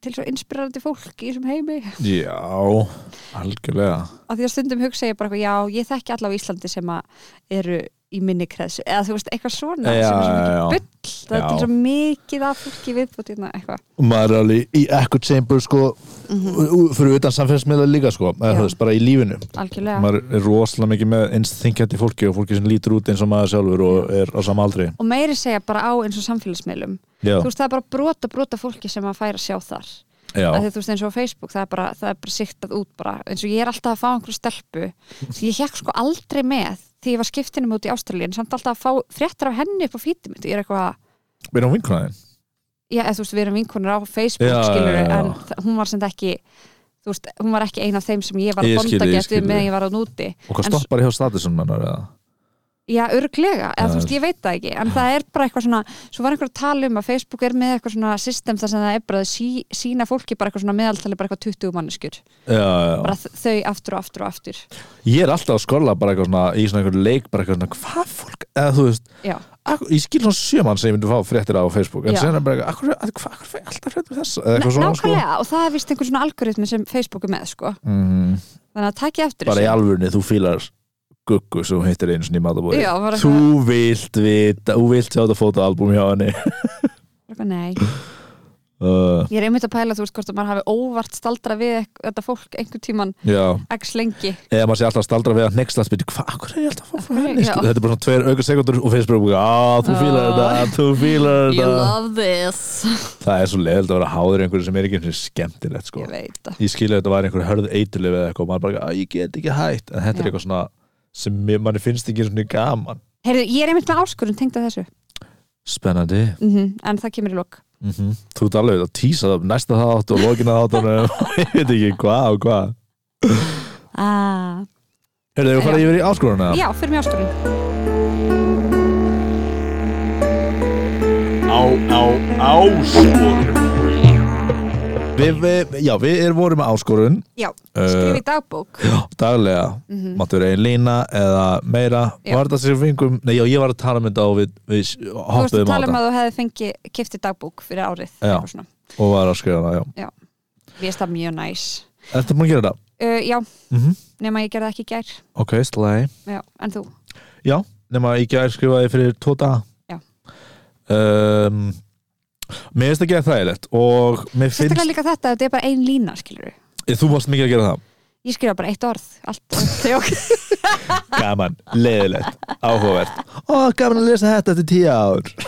til svo inspirandi fólk í þessum heimi af
Já, algjörlega
því að stundum hugsa ég bara eitthvað, já, ég þekki alla á Íslandi sem að eru í minni kreðsu eða þú veist, eitthvað svona
Já,
sem er svo mikið
já, já.
bull það er
Já.
til svo mikið af fólki viðbútt hérna eitthvað
og maður er alveg í echo chamber sko, u- u- fyrir utan samfélagsmiðla líka sko, eða
Já.
þú veist, bara í lífinu
algjörlega
maður er rosalega mikið með eins þingjandi fólki og fólki sem lítur út eins og maður sjálfur og er á sama aldri
og meiri segja bara á eins og samfélagsmiðlum
já,
þú veist, það er bara brota brota fólki sem að færa sjá þar
já,
að því þú veist eins og á Facebook það er bara, það er bara siktað út bara eins og ég er alltaf að fá einhverju stelpu sem ég hekk sko aldrei með því ég var skiptinum út í Ástralíun samt alltaf að fá fréttir af henni upp á fítið mitt og ég er eitthvað að
við erum vinkunaðin
já, eða, þú veist, við erum vinkonur á Facebook
Já,
skilur,
já, já.
en þa- hún var sem þetta ekki þú veist, hún var ekki ein af þeim sem ég var að
Ég skil,
bonda
ég skil.
getið meðan ég var á núti
og hvað
En s-
stoppar hjá statusum mennar eða
já, örglega, eða
Já.
þú veist, ég veit það ekki en það er bara eitthvað svona, svo var einhver að tala um að Facebook er með eitthvað svona system þar sem það er bara að sí, sína fólki bara eitthvað svona meðaltali bara eitthvað 20 manneskjur,
já, já, já.
bara þ- þau aftur og aftur og aftur
ég er alltaf að skolla bara eitthvað svona í svona einhver leik bara eitthvað svona hvað fólk, eða þú veist
já,
ak- ég skil svona sjömann sem ég myndi fá fréttir á Facebook en
Já.
sen er bara eitthvað, akkur, akkur, akkur fæ ég alltaf fréttir þess eða eitthvað svona sko
nákvæmlega, og það er vist einhver svona algoritmi sem Facebook er með, sko
mm,
þannig að takja eftir
bara í alvörni, þú fílar guggu sem hún hittir einu svona í matabóði
já, bara
Þú
eitthvað,
vilt vita, þú vilt sjá þetta fotoalbum hjá henni
eitthvað, nei
uh,
Ég er einmitt að pæla, þú veist, hvort að maður hafi óvart staldra við ek- þetta fólk einhver tíman
Já,
x lengi.
eða maður sé alltaf að staldra við að nexla spyrir, hvað, hvað er ég alltaf að fá frá
Af hverju?
henni?
Já.
Þetta er bara svona tveir auka sekundur og Facebook bara, að þú fílar
Ah.
þetta, þú fílar þetta
love this.
Það er svo leiðild að vera háður einhverju sem er ekki eins og skemmtilegt sko.
Ég veit það.
Ég skilja þetta var einhverju hörð eiturlif eða eitthvað og maður bara, að ég get ekki hætt en þetta
Já.
er eitthvað svona sem mér- manni finnst ekki svona gaman
Heyrðu, ég er einmitt með áskurinn tengt að þessu.
Spennandi
Mm En það kemur í lok.
mm Þú ert alveg að tísa það upp næsta þátt og lokina þátt og ég veit ekki hvað og hvað
Ah.
Er það að fara
Já.
yfir í áskorunna?
Ah. Já, fyrir mig áskurinn.
á, á, áskorun Við, við, já, við erum voru með áskorun
Já,
Eh.
skrif í dagbók.
já, daglega,
Mm
máttu vera einn lína eða meira,
Já.
var þetta sem við fengum nei, já, ég var að tala um þetta og við, við
Þú veist að
hoppuðum á
tala um
þetta
að þú hefði fengið kifti dagbók fyrir árið.
Já.
eitthvað svona.
og var að skrifa það, já,
Mér finnst það mjög næs.
þetta maður að gera þetta
Uh, já,
mm
nema ég gerði það ekki í gær.
ok, slæ,
Já, en þú?
já, nema í gær skrifaði fyrir tvo daga
Já.
um, mér finnst það gera þægilegt og mér
Sérstaklega
finnst,
líka þetta, þetta er bara ein lína, skilur við.
þú varst mikið að gera það
Ég skrifa bara eitt orð, allt. Þjók.
gaman, leiðilegt, áhugavert ó, gaman að lesa þetta eftir tíu ár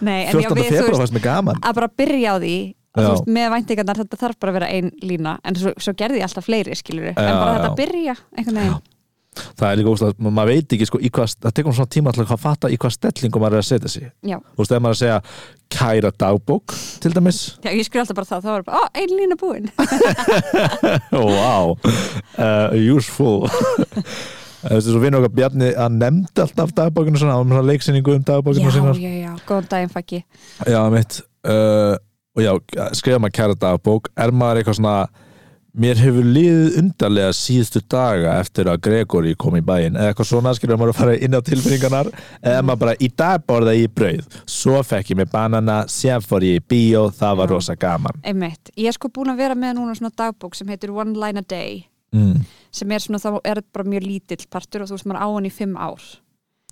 Nei, en já,
14.
við, þú
februar
veist,
fannst mér gaman
að bara byrja á því að
Já.
þú veist, með væntingarnar þetta þarf bara að vera ein lína en svo, svo gerði ég alltaf fleiri skilur
Já,
en bara þetta
já.
að byrja einhvern veginn
það er líka óslega, ma- maður veit ekki sko, í hvað, það tekur svona tíma til að fatta í hvað stellingu maður er að setja sig
já.
þú veist, ef maður er að segja kæra dagbók til dæmis,
já, ég skrif alltaf bara það, þá var bara, ó, ein lína búin
wow uh, useful þessi svo vinur okkar Bjarni að nefndi alltaf dagbókinu svona, hann var með svona leiksýningu um dagbókinu
já,
sínar,
já, já, góðan daginn faggi
já mitt uh, og já, skrifa maður kæra dagbók er maður eitthvað svona mér hefur liðið undarlega síðustu daga eftir að Gregory kom í bæinn eða eitthvað svona skilur maður að fara inn á tilfinningarnar eða maður bara í dag borða ég brauð svo fekk ég mig banana sem fór ég í bíó, það var
Já.
rosa gaman
einmitt, ég er sko búin að vera með núna svona dagbók sem heitir One Line a Day
mm.
sem er svona, þá er þetta bara mjög lítill partur og þú veist, maður á hann í fimm ár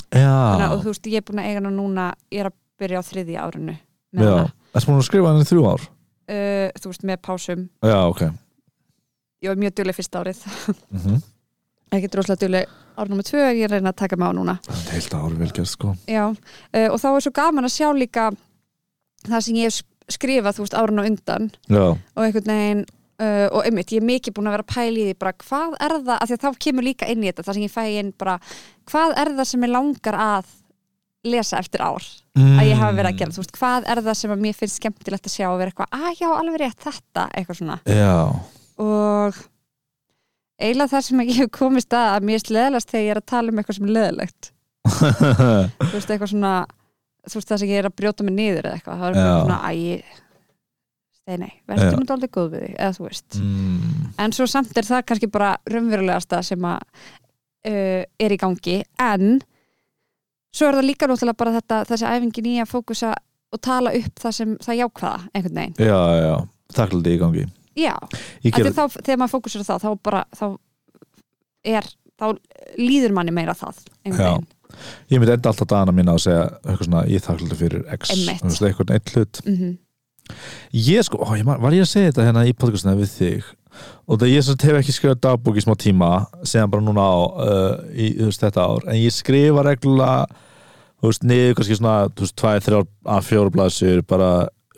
Þannig, að- og
já,
þú veist, ég er búin að eiga hann núna ég er að byrja á þriðja árinu með
já
hana.
Erst múin að skrifa hann í þrjú ár?
uh, þú veist, með pásum
Já, ok
ég var mjög duðleg fyrsta árið
mm
ekki droslega duðleg ár nummer tvö en ég reyna að taka mig á núna
Þetta heilt að ári velgerð sko
Já, uh, og þá er svo gaman að sjá líka það sem ég hef sk- skrifað, þú veist, árun og undan
Já,
og einhvern veginn, uh, og einmitt, ég er mikið búin að vera að pæla í því bara hvað er það, af því að þá kemur líka inn í þetta, það sem ég fæ inn bara, hvað er það sem ég langar að lesa eftir ár
mm.
að ég hafa verið að gera, þú veist, hvað er það sem að mér finnst skemmtilegt að sjá og vera eitthvað, að já, alveg rétt þetta, eitthvað svona
Já,
og eiginlega það sem ég hef komist að að mér er leðalast þegar ég er að tala um eitthvað sem er leðalegt þú veist, eitthvað svona þú veist það sem ég er að brjóta mig niður eða eitthvað, það er bara
Já.
svona að ég þeir nei,
Já.
verður nú aldrei góð við því eða þú veist,
mm.
en svo samt er það kannski bara raunverulegasta sem að uh, er í gangi, en svo er það líka náttúrulega bara þetta, þessi æfingin í að fókusa og tala upp það sem það jákvæða einhvern veginn,
já, já þakklandi í gangi
já,
Ég
af því
gerði
þá, þegar maður fókusur á það þá bara, þá er þá líður manni meira það einhvern
Já.
veginn.
ég myndi enda alltaf dagana mína að segja eitthvað svona, ég þakklandi fyrir X
Einmitt.
Þú veist, einhvern einn hlut
Mhm.
ég sko, ó, ég man, var ég að segja þetta hérna í podcastina við þig og það ég sem hef ekki skrifað dagbúk í smá tíma segja bara núna á uh, í, þú veist, þetta ár, en ég skrifa reglulega þú veist, niður kannski svona þú veist, tvær, þrjár, að fjóra blæsir bara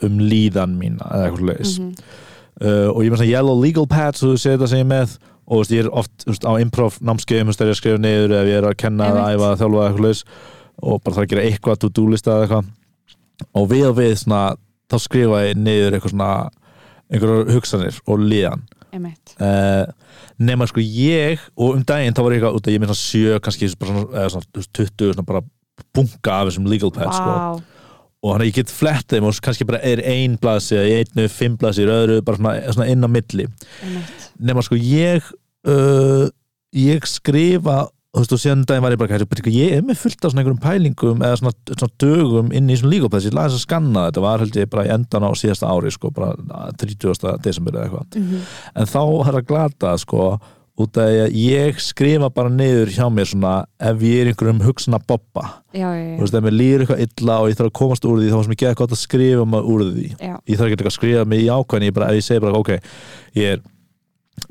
um líðan mína eða eitthvað leis
Mhm.
uh, og ég er með svona yellow legal pads og þú segir þetta sem ég er með og þú veist, ég er oft þú veist, á improv námskeiðum þú veist, þegar ég skrifa niður ef ég er að kenna eða
Einmitt.
æfa að þjálfa eða eitthvað laus og bara þarf að gera eitthvað to-do lista eða eitthvað og við og við svona þá skrifa ég niður eitthvað svona einhverjar hugsanir og liðan
Einmitt.
uh, nema sko ég og um daginn þá var ég eitthvað út að ég er með svona sjö kannski bara svona, eða svona þú veist, 20 svona bara bunga af þessum legal pads sko
Vá.
og þannig að ég get flett þeim og kannski bara er ein blaðsíða í einu, fimm blaðsíður, öðru bara svona, svona inn á milli
Einmitt.
nema sko ég uh, ég skrifa þú veist og síðan um daginn var ég bara kæri, byrja, ég er með fullt af svona einhverjum pælingum eða svona, svona dögum inn í svona líkopæðs ég laði þess að skanna þetta var held ég bara í endan á síðasta ári sko bara na, 30. desember eða eitthvað
Mhm.
en þá er að glata sko út af því að ég skrifa bara niður hjá mér svona ef ég er í einhverjum hugsana bobba
Já,
þú
já, já.
veist, ef mér líður eitthvað illa og ég þarf að komast úr því þá fannst mér geða gott að skrifa maður úr því
Já.
ég þarf ekki eitthvað að skrifa mig í ákvæðin ég bara, ef ég segi bara, ok, ég er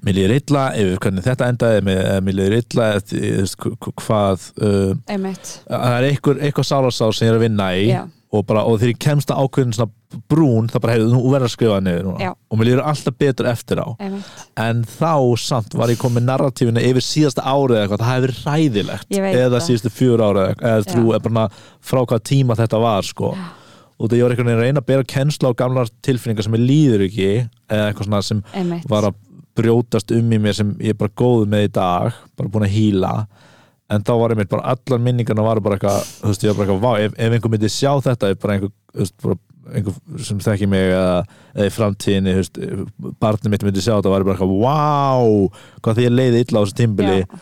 mér líður illa, ef hvernig þetta endaði mér, ef mér líður illa, ef- ég veist, hv- hv- hvað uh,
Einmitt.
það er einhver, eitthvað sálasál sem ég er að vinna í
Já.
og, bara, og þegar ég kemst að ákveðin svona brún, það bara, heyrðu, nú verður að skrifa það niður núna
Já.
og mér líður alltaf betur eftir á
Einmitt.
en þá samt var ég komið narratífinu yfir síðasta árið eða eitthvað, það hefði verið hræðilegt
Ég veit
eða
það.
síðustu fjör árið eða þrjú, eða bara frá hvaða tíma þetta var sko. og það ég var einhvern veginn að reyna að bera kennsla á gamlar tilfinningar sem ég líður ekki eða eitthvað svona sem
Einmitt.
var að brjótast um í mér sem ég er bara góð með í dag bara búin að hýla en þá var ég mér bara allar minningarna var bara eitthvað, þú veist, ég var bara eitthvað, vá, ef, ef einhver myndi sjá þetta, ef bara einhver, þú veist, bara einhver sem þekki mig eða, eða í framtíðinni, þú veist, barnið mitt myndi sjá þetta, var ég bara eitthvað, vá hvað því ég leiði illa á þessu tímbili
Já.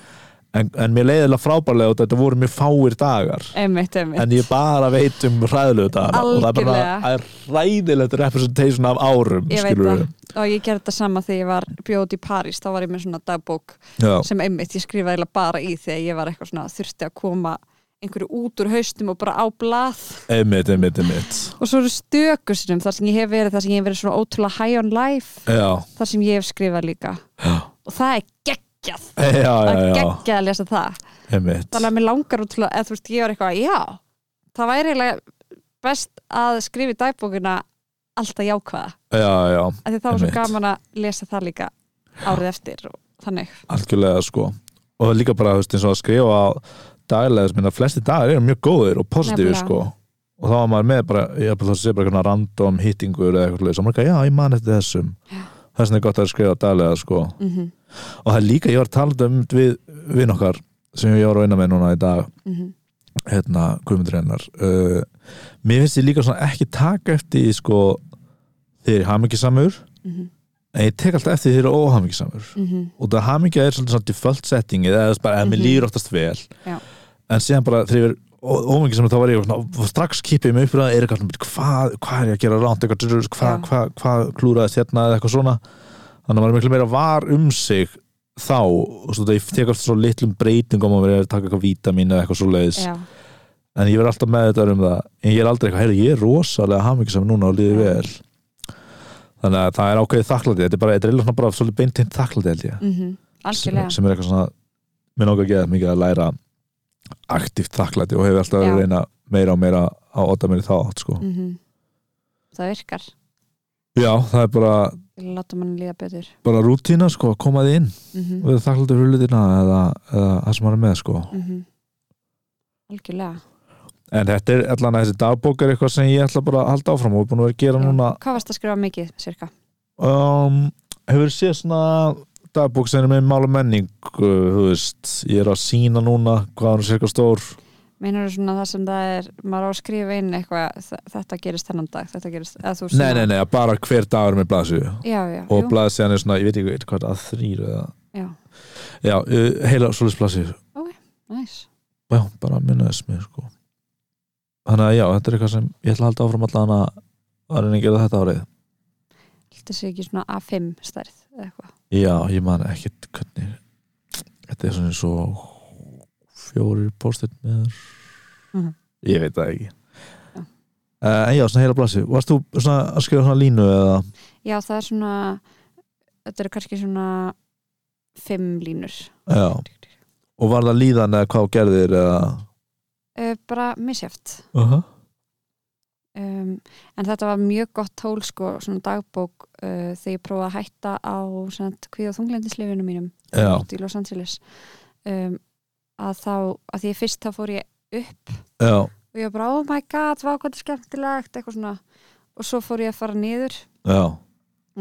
en, en mér leiði illa frábærlega og þetta voru mjög fáir dagar
Einmitt, einmitt.
en ég bara veit um hræðilegu dagar og það er bara
Algjörlega.
það er hræðilegt representation af árum,
ég veit
skilurðu.
það og ég gerði þetta sama þegar ég var bjóð í París þá var ég með svona dagbók
Já.
sem einmitt ég skrifaði eiginlega bara í þegar ég var eitthvað svona þurfti að koma einhverju út úr haustum og bara á blað
einmitt, einmitt, einmitt
og svo eru stökur sinum þar sem ég hef verið þar sem ég hef verið svona ótrúlega high on life
já,
þar sem ég hef skrifað líka
já,
og það er geggjað
já,
það
já,
er
já.
geggjað að lesa það
einmitt
þannig að mér langar ótrúlega eða þú veist ég var eitthvað já það væri eiginlega best að skrifa í dagbókina alltaf jákvæða
já, já,
af því það var svo
Einmitt.
gaman að lesa það líka árið eftir og þannig
algjörlega sko og líka bara, þú veist, eins og að skrifa á daglega, þess minna, flesti dagar eru mjög góðir og positífir
Nefnilega.
sko og þá var maður með bara, ég hef bara þá sé bara eitthvað random hittingur eða eitthvað leys, og maður er eitthvað, já, ég man eftir þessum þess vegna er gott að skrifa daglega sko
mm -hmm,
og það er líka, ég var að tala um þetta við vinn okkar sem ég var að vinna með núna í dag
mhm,
hérna, Guðmundur Einar uh, mér finnst ég líka svona ekki taka eftir því, sko þegar ég hafa mikið samur
mhm,
en ég tek alltaf eftir því þegar ég er óhamingisamur og það hamingja er svolítið svona default setting eða þess bara að mér
Mhm.
líður oftast vel
Já.
en síðan bara þegar ég er óhamingisamur þá var ég svona, og strax kipið mig upp fyrir það er eitthvað, svona, hvað, hvað er ég að gera ránt eitthvað, drrrr, hvað,
Já.
hvað, hvað klúraðist hérna eða eitthvað svona þannig að maður er miklu meira var um sig þá, og svo það ég tek alltaf svo litlum breytingum að vera að taka eitthvað vítamín eða eitthvað svo leiðis,
Já,
en ég verð alltaf með þetta um það, en ég er aldrei eitthvað, heyrðu, ég er rosalega hamingisam núna og líður vel þannig að það er ákveðið þakklæti þetta er bara, þetta er eiginlega svona bara svolítið beintinn þakklæti held ég
mm
sem,
algjörlega
sem er eitthvað svona mér langar að geða mikið að læra aktíft þakklæti og hefur alltaf verið að
Já.
reyna meira og meira að otta mér í þá átt sko.
mm Það virkar
já, það er bara,
Ég láta mann líða betur
bara rútína sko, að koma því inn
mm
og það þakklæti fyrir hlutina eða, eða það sem maður er með sko.
mhm. Algjörlega
en þetta er allan að þessi dagbók er eitthvað sem ég ætla bara að halda áfram og er búin að vera að gera núna
Hvað varst að skrifa mikið, cirka?
um, hefur séð svona dagbók sem er með mál og menning uh, þú veist, ég er að sína núna hvað hann er sérka stór
Meinar svona það sem það er maður á að skrifa inn eitthvað þ- þetta gerist þennan dag, þetta gerist eða þú
nei, nei, nei, bara hver dagur með blaðsjöðu
Já, já,
og
jú,
blaðsíðan er svona, ég veit ekki hvað að þrýr eða,
já,
já, uh, heila svoleiðs blaðsíður,
næs
já, bara minna þess mér sko þannig að já, þetta er eitthvað sem ég ætla að halda áfram allan að að reyna að gera þetta árið
þetta sé ekki svona A5 stærð eða eitthvað
Já, ég man ekkert hvernig Þetta er svona eins og fjórir póstur meður
Mhm.
Ég veit það ekki
Já.
uh, En já, svona heila blasi Varst þú svona að skrifa svona línu eða
Já, það er svona þetta eru kannski svona fimm línur
Já Og var það líðan eða hvað þú gerðir eða
uh, bara misjæft
uh -huh.
um, en þetta var mjög gott tól sko, svona dagbók uh, þegar ég prófaði að hætta á svona, kvíð og þunglendislefinu mínum
Já,
út í Los Angeles um, að þá, að því fyrst þá fór ég
já,
og ég var bara, oh my god, vá hvað þetta er skemmtilegt eitthvað svona, og svo fór ég að fara niður
já,
og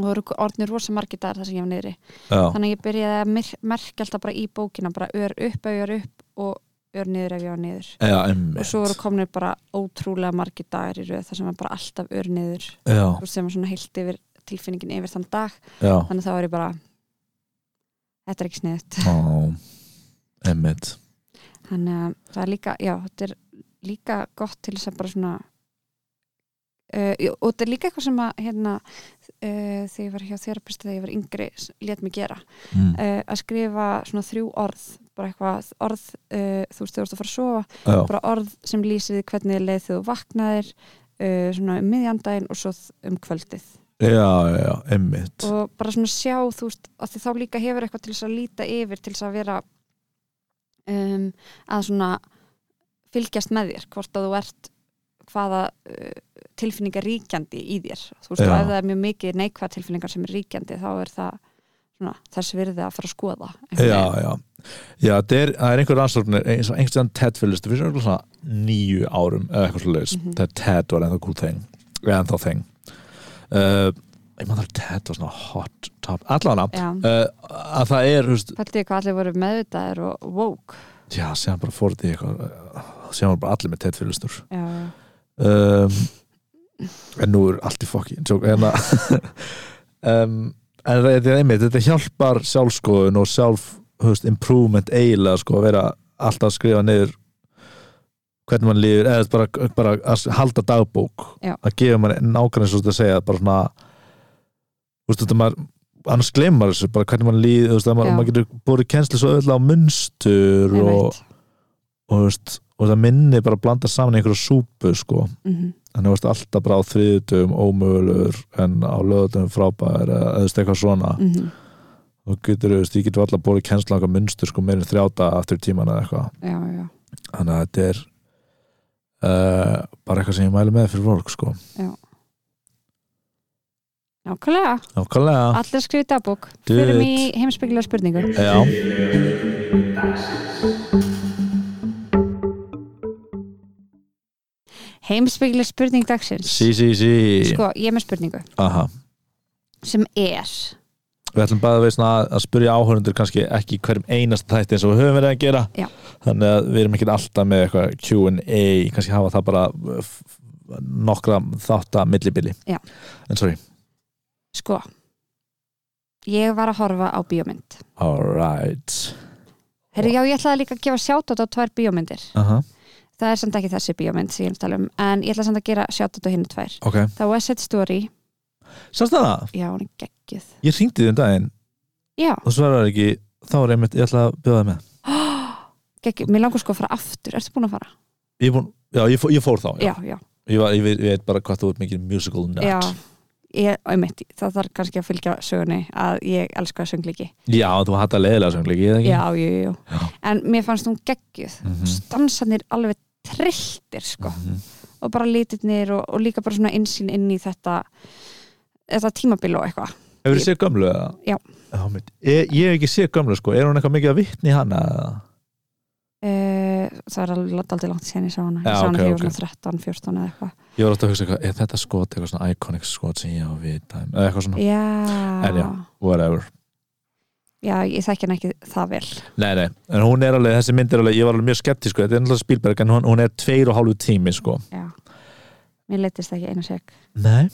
það voru orðnir rosa margir dagar þar sem ég var niðri
já
þannig að ég byrjaði að mer- merkja alltaf bara í bókina bara ör upp ef ég var upp og ör niður ef ég var niður
Já,
og
einmitt
svo voru komnir bara ótrúlega margir dagar í röð þar sem var bara alltaf ör niður
Já,
þú veist, sem var svona heilt yfir tilfinningin yfir þann dag
já,
þannig að þá var ég bara þetta er ekki sniðut
á Einmitt
þannig að það er líka, já, þetta er líka gott til þess að bara svona uh, jú, og þetta er líka eitthvað sem að hérna, uh, þegar ég var hjá þerapist þegar ég var yngri, s- lét mig gera
mm.
uh, að skrifa svona þrjú orð bara eitthvað orð uh, þú veist, þú veist að fara að sofa
Já,
bara orð sem lýsir því hvernig þér leið þegar þú vaknaðir uh, svona um miðjandaginn og svo þ- um kvöldið
já, já, einmitt
og bara svona sjá þú veist að því þá líka hefur eitthvað til þess að líta yfir til þess að vera um, að svona fylgjast með þér hvort að þú ert hvaða uh, tilfinningar ríkjandi í þér þú veist
Já.
og ef það er mjög mikið neikvað tilfinningar sem er ríkjandi þá er það svona, þess virði að fara að skoða einhvern
já,
veginn.
já, já það er, það er einhver rannsóknir eins og einhvern veginn TED fyrir listu fyrir örugglega svona nýju árum eða eitthvað svo leiðis,
Mhm.
þegar TED var ennþá cool thing eða ennþá thing uh, ég maður að TED var svona hot top, allavega
já.
uh, að það er, þú veist,
Pældi ég hvað allir voru meðvitaðir og woke
já, séðan bara fór þetta í eitthvað uh, séðan bara allir með TED fyrir listur
já,
um, en nú er allt í fokki tjók, en, að- um, en það- þetta er einmitt þetta hjálpar sjálfskoðun og sjálf höfst, improvement eiginlega sko, að vera alltaf að skrifa niður hvernig mann líður eða bara, bara að halda dagbók
Já.
að gefa mann nákvæmlega svo þetta að segja bara svona þú veist, þetta maður annars gleymar maður þessu, bara hvernig mann líður þú veist, að maður,
Já.
maður getur borið kennslu svo öll á munstur og,
einmitt
og, þú veist, og það minni bara að blanda saman í einhverju súpu sko
mm
hann hefast alltaf bara á þriðutum ómögulegur en á löðutum frábæður eða eða þú veist eitthvað svona
mhm.
og getur, þú veist, ég getur alltaf búið kennslanga munstur sko meirinn þrjáta aftur tíman eða eitthvað
já, já,
þannig að þetta er uh, bara eitthvað sem ég mæli með fyrir fólk sko
nákvæmlega
Nákvæmlega
allir skrifið dagbók,
Do
fyrir
it.
mig heimsbyggilega spurningu
Já,
heimsbyggilega spurning dagsins
sí, sí, sí
sko, ég er með spurningu
Aha.
sem er
Við ætlum bara að, veist, að, að spyrja áhörundur kannski ekki í hverjum einasta þætti eins og við höfum verið að gera
Já.
þannig að við erum ekki alltaf með eitthvað Q&A, kannski hafa það bara uh, f- nokkra þátt að millibili
Já.
En sorry
sko ég var að horfa á bíómynd
Alright
Herri, já, ég ætlaði líka að gefa sjátt á tvær bíómyndir
Aha,
það er samt ekki þessi bíómynd sem ég er að tala um en ég ætla samt að gera sjátt á hinn tvær
ok
það var Set Story,
Sástu það?
já, hún er geggjuð
Ég hringdi því um daginn
já,
og svarar ekki þá er einmitt, ég ætla að bjóða það með
geggjuð, mér langar sko að fara aftur ertu búin að fara?
Ég, er búinn- já, ég, fó, ég fór þá
Já, já,
Ég, var, ég, veit, ég veit bara hvað þú ert mikið musical nut
já ég, einmitt, það þarf kannski að fylgja sögunni að ég elska söngleiki
Já, þú hattar leiðilega söngleiki, eða ekki?
já, jú, jú, jú.
Já.
en mér fannst hún geggjuð mm
Mhm.
stansanir alveg trilltir sko.
Mhm.
og bara litirnir og, og líka bara svona innsýn inn í þetta þetta tímabil og eitthvað
Hefur þið séð gömlu eða?
Já.
mitt. Ég, ég hef ekki séð gömlu sko, er hún eitthvað mikið að vitni í hana eða?
uh, það er alveg aldrei langt síðan ég sá hana ég
Já,
sá hana
ok,
þegar ég var
ok.
svona 13, 14 eða eitthvað
Ég var alltaf að hugsa eitthvað, er þetta skot eitthvað svona iconic skot sem ég á við dæmi, eða eitthvað svona,
já,
En já. whatever.
já, ég þekki hann ekki það vel
Nei, nei, en hún er alveg, þessi mynd er alveg, ég var alveg mjög skeptisk sko, þetta er náttúrulega Spielberg, en hún, hún er tveir og hálfu tími sko.
já. mér leittist ekki einu seg
Nei.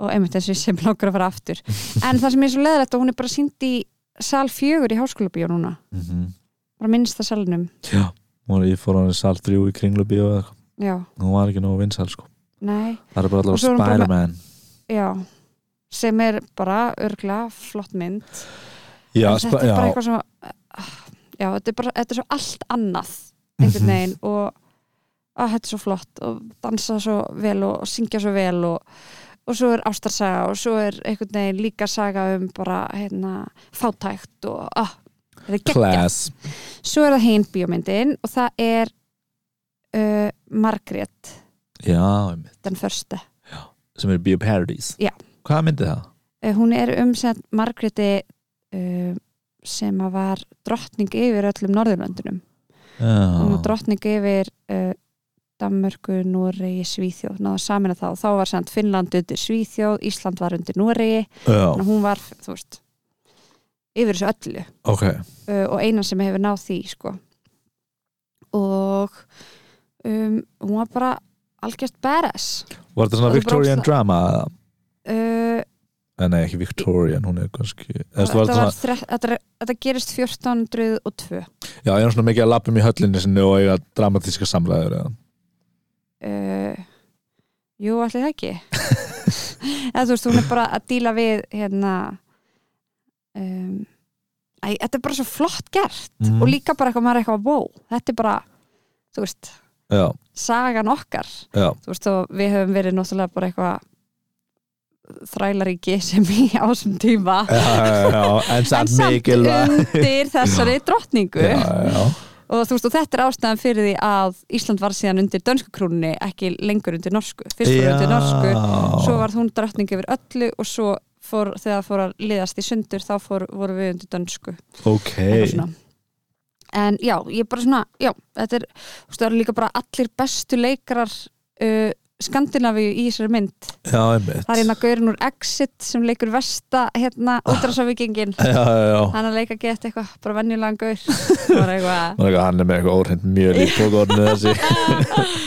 og einmitt þessu sem langar að fara aftur en það sem er svo leðrætt og hún er bara sínd í sal fjögur í háskólabíó núna
Mm
bara minnsta salnum
Já, hún er, ég fór hann í sal 3 í kringlubíu og eitthvað,
já,
hún var ekki nógu vinsæl sko.
nei,
Það er bara
Og
allavega
svo er hún bara með-
Spider-Man.
já sem er bara örgla flott mynd
já,
En þetta
spa-
er bara
já,
eitthvað sem að- já, þetta er bara, þetta er svo allt annað
Mhm.
einhvern veginn og að þetta er svo flott og dansa svo vel og, og syngja svo vel og, og svo er ástarsaga og svo er einhvern veginn líka saga um bara hérna, fátækt og að, þetta er geggjað.
class
Svo er það hinn bíómyndin og það er uh, Margrét
já, einmitt.
den förste.
sem eru bioparodies
Já.
hvað myndi það?
Eh, Hún er um sem Margréti uh, sem að var drottning yfir öllum Norðurlöndunum hún var
Já.
um drottning yfir uh, Danmörku, Noregi, Svíþjóð náðu samin að þá, þá var samt Finnland undir Svíþjóð, Ísland var undir Noregi
já,
þannig að hún var, þú veist yfir þessu öllu
ok
uh, og einan sem hefur náð því sko. og um, hún var bara algjört badass
var þetta svona
Og þú
Victorian
brást-
drama? eða?
uh,
Eh, nei, ekki Victorian, hún er kannski Eða,
þetta,
var þetta
var
svona,
þre, þetta, er- þetta gerist 1402
já, ég er svona mikið að lappum í höllinni sinni og eiga dramatíska samræður eða.
uh, Jú, allir það ekki eða þú veist, hún er bara að díla við hérna um, æ, þetta er bara svo flott gert
Mhm.
og líka bara eitthvað, maður er eitthvað wow, þetta er bara, þú veist
já,
sagan okkar,
já,
þú veist, og við höfum verið náttúrulega bara eitthvað þrælaríki sem í ásum tíma
já, já, já en
en
samt
samt
mikil
undir þessari drottningu
já, já,
og þú veist og þetta er ástæðan fyrir því að Ísland var síðan undir dönsku krúnunni ekki lengur undir norsku fyrst var undir norsku, svo varð hún drottning yfir öllu og svo fór, þegar fór að liðast í sundur þá fór, voru við undir dönsku
ok,
eitthvað svona. en já, ég bara svona já, þetta er, þú veist það eru líka bara allir bestu leikarar uh, Skandinavíu í þessari mynd
já, einmitt
það er hérna Gaurin úr Exit sem leikur Vesta hérna, útrásafíkingin
já, já, já
hann að leika gett eitthvað, bara venjulegan Gaur bara eitthvað
Nú er eitthvað, Hann er með eitthvað óhrind mjög líkt og orðinu þessi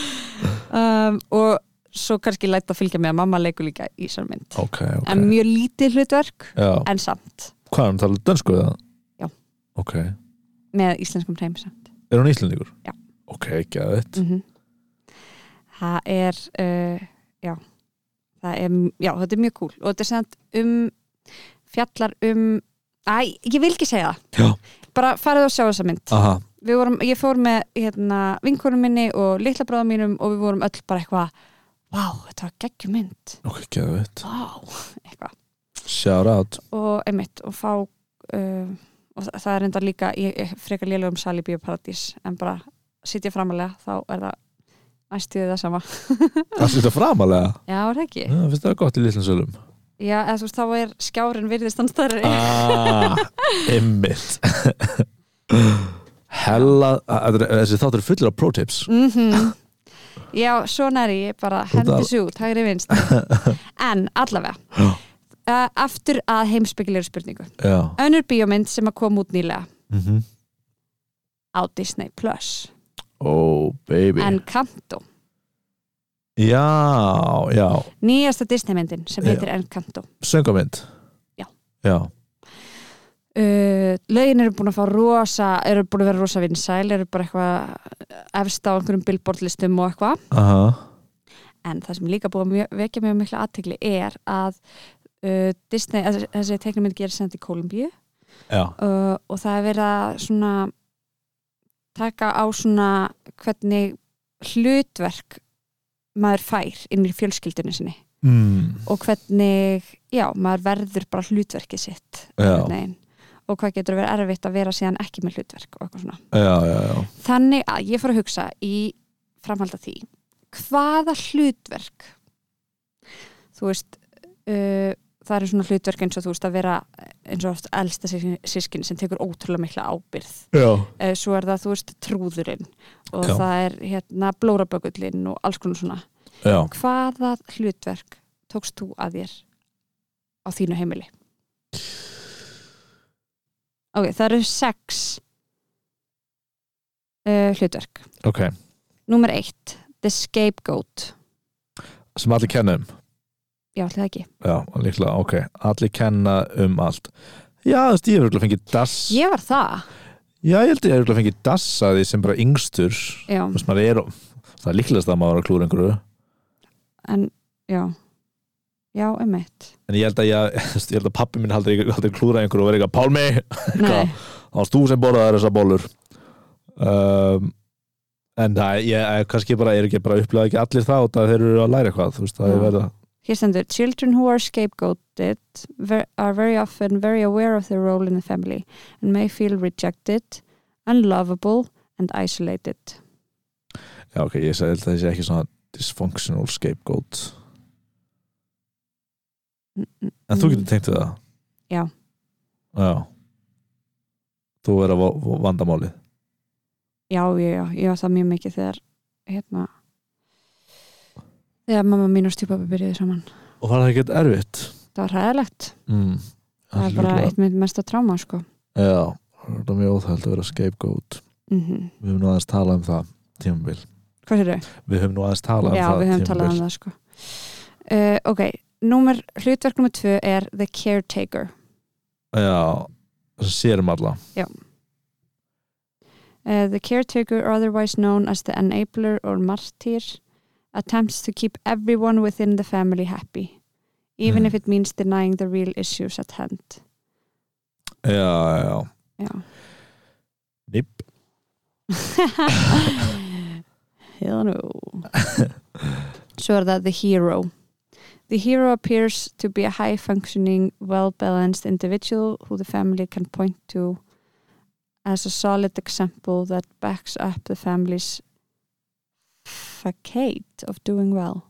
um, og svo kannski læta að fylgja með að mamma leikur líka í þessar mynd
Ok, ok
en mjög lítið hlutverk
Já,
en samt
hvað er hún talað dönsku eða?
Já.
Ok, er
með íslenskum hreim samt
hún íslendingur?
Já.
Ok, gæðið
mm það er uh, já það er, já þetta er mjög cool og þetta er samt um fjallar um, æ, ég vil ekki segja það
Já, Ah.
bara farið og sjá þessa mynd
aha,
við vorum, ég fór með hérna, vinkonum minni og litla bráðum mínum og við vorum öll bara eitthvað wow, þetta var geggjum mynd
ok, gæðið
wow, eitthvað
Shout out
og einmitt og fá uh, og þa- það er enda líka ég ég frekar lélegum sal í bioparadís en bara sitja framalega þá er það næstuðið það sama Ah.
Það sýttu framalega
já, er það ekki?
Já, finnst það gott í litlum sölum
já, eða þú veist, þá er skjárin virðist hann stærri
Ah, ymmit Hella, þetta er- þessi þáttur er fullur af pro-tips
Mhm. Já, svona er ég bara hendi
að-
svo út, hægri vinst En allavega
Já.
uh, Aftur að heimspekilegur spurningu
Já,
Önnur bíómynd sem að kom út nýlega
mhm
á Disney Plus
Oh, baby
En Kanto,
Já, já,
nýjasta Disney myndin sem
Já.
heitir En Kanto
söngamynd
Já.
Já,
uh, lögin eru búin að fá rosa eru búin að vera rosa vinsæl eru bara eitthvað eh, efst á einhverjum billboardlistum og eitthvað
aha
en það sem líka búið að mjö- vekja mjög mikla aðtegli er að uh, Disney, að þessi teknumynd gerir sent í Kolumbíu
Já,
uh, og það er verið að svona taka á svona hvernig hlutverk maður fær inn í fjölskyldunni sinni
mm.
og hvernig, já, maður verður bara hlutverkið sitt
Já.
einhvern veginn. og hvað getur verið erfitt að vera síðan ekki með hlutverk og eitthvað svona
já, já, já
þannig að ég fór að hugsa í framhald af því hvaða hlutverk þú veist uh, það eru svona hlutverk eins og þú veist að vera eins og oft elsta sískin sem tekur ótrúlega mikla ábyrð
Já,
uh, svo er það þú veist trúðurinn og
Já.
það er hérna blórabökullin og alls konar svona
já
hvaða hlutverk tókst þú að þér á þínu heimili? Ok, það eru sex uh, hlutverk.
Ok,
Númer eitt, The Scapegoat.
sem allir kenna um
Já, allir það ekki.
Já, líklega, ok Allir kenna um allt Já, þú veist, ég hef örugglega fengið dass
Ég var það.
Já, ég held ég hef örugglega fengið dass að því sem bara yngstur Þú
Já,
veist, maður er Það er líklegast að maður er að klúra einhverju
en já. já, emmitt
en ég held að, ég, ég held að pappi minn haldur, haldur klúra einhverju og verið eitthvað Pálmi,
Nei,
þá varst þú sem borðaði þessar bólur um, en það, ég, ég kannski bara er ekki bara upplega ekki allir það og það þeir eru að læra eitthvað þú veist, það er
Já.
verða
hér stendur Children who are scapegoated ver- are very often very aware of their role in the family and may feel rejected, unlovable and isolated
já ok, ég sagði held að það sé ekki svona dysfunctional scapegoat en þú getur tengt við það
Já.
já þú er að va- vandamálið
já, já, já, ég var það mjög mikið þegar hérna þegar mamma mín og stjúpappi byrjuði saman
og var það ekkert erfitt
það var hræðilegt,
mm.
það er bara eitt mitt mesta tráma sko
já, það er mjög óþægt að vera scapegoat
mm
við höfum nú aðeins talað um það tímabil
hvað sér þau?
við höfum nú aðeins talað um
já,
það
við höfum talað um það sko uh, ok, númer, hlutverk nummer tvö er the caretaker
Já, sem sérum um alla
Uh, the caretaker, otherwise known as the enabler or martyr, attempts to keep everyone within the family happy, even
Mm.
if it means denying the real issues at hand.
Já, já, já
Já.
Nipp
Hell no. Svo er það the hero. The hero appears to be a high functioning, well balanced individual who the family can point to as a solid example that backs up the family's facade of doing well.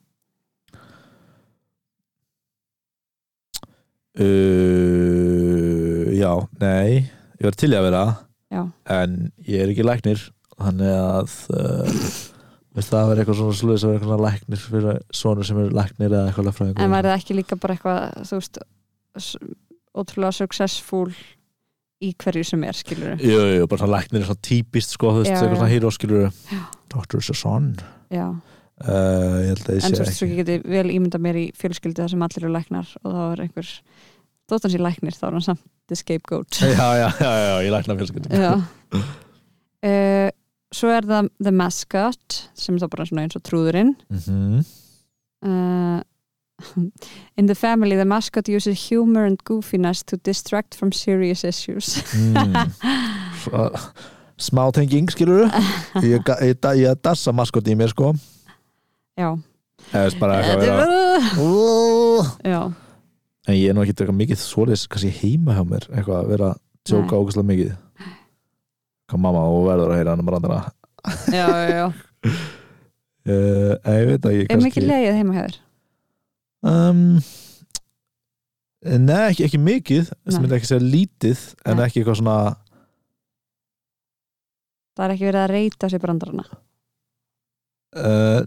uh, Já, nei Ég var til í að vera
Já.
En ég er ekki læknir Þannig að uh, veist, Það var eitthvað svona sluðis að vera eitthvað svona læknir fyrir svona sem er læknir eða eitthvað lögfræðingur
En var það ekki líka bara eitthvað, þú veist, s- ótrúlega successful í hverju sem er, skilur við?
Jú, jú, bara svona læknir er svona típist sko, þú veist,
Já,
eitthvað
já.
svona hýróskilur
Já.
Dr. Sasson
Já,
uh, Ég held að ég
en þú
sé
veist, svo
ekki
ég geti vel ímyndað mér í fjölskyldu þar sem allir eru læknar og þá er einhver, þótt hans í læknir, þá er hann samt the scapegoat.
Já, já, já, já, ég lækna fjölskyldum
Já. Uh, svo er það the mascot, sem er þá bara svona eins og trúðurinn.
mm
Uh, in the family, the mascot uses humor and goofiness to distract from serious issues.
mm. Svo- smá tenging skilur ég, ga- ég, da- ég dassa maskot í mér sko
Já.
eða veist, bara eitthvað
Þetta
vera
er...
Ú.
Já.
en ég er nú ekki eitthvað mikið svoleiðis kannski heima hjá mér eitthvað að vera að
Nei.
tjóka ógæslega mikið hvað mamma og verður að heyra hann um randana
já, já, já.
uh, en ég veit að ég
Er mikið
kannski
legið heima hjá þér?
um, Nei, ekki, ekki mikið sem
Nei.
myndi ekki segja lítið en
Nei.
ekki eitthvað svona
Það er ekki verið að reyta sér brandarana.
uh,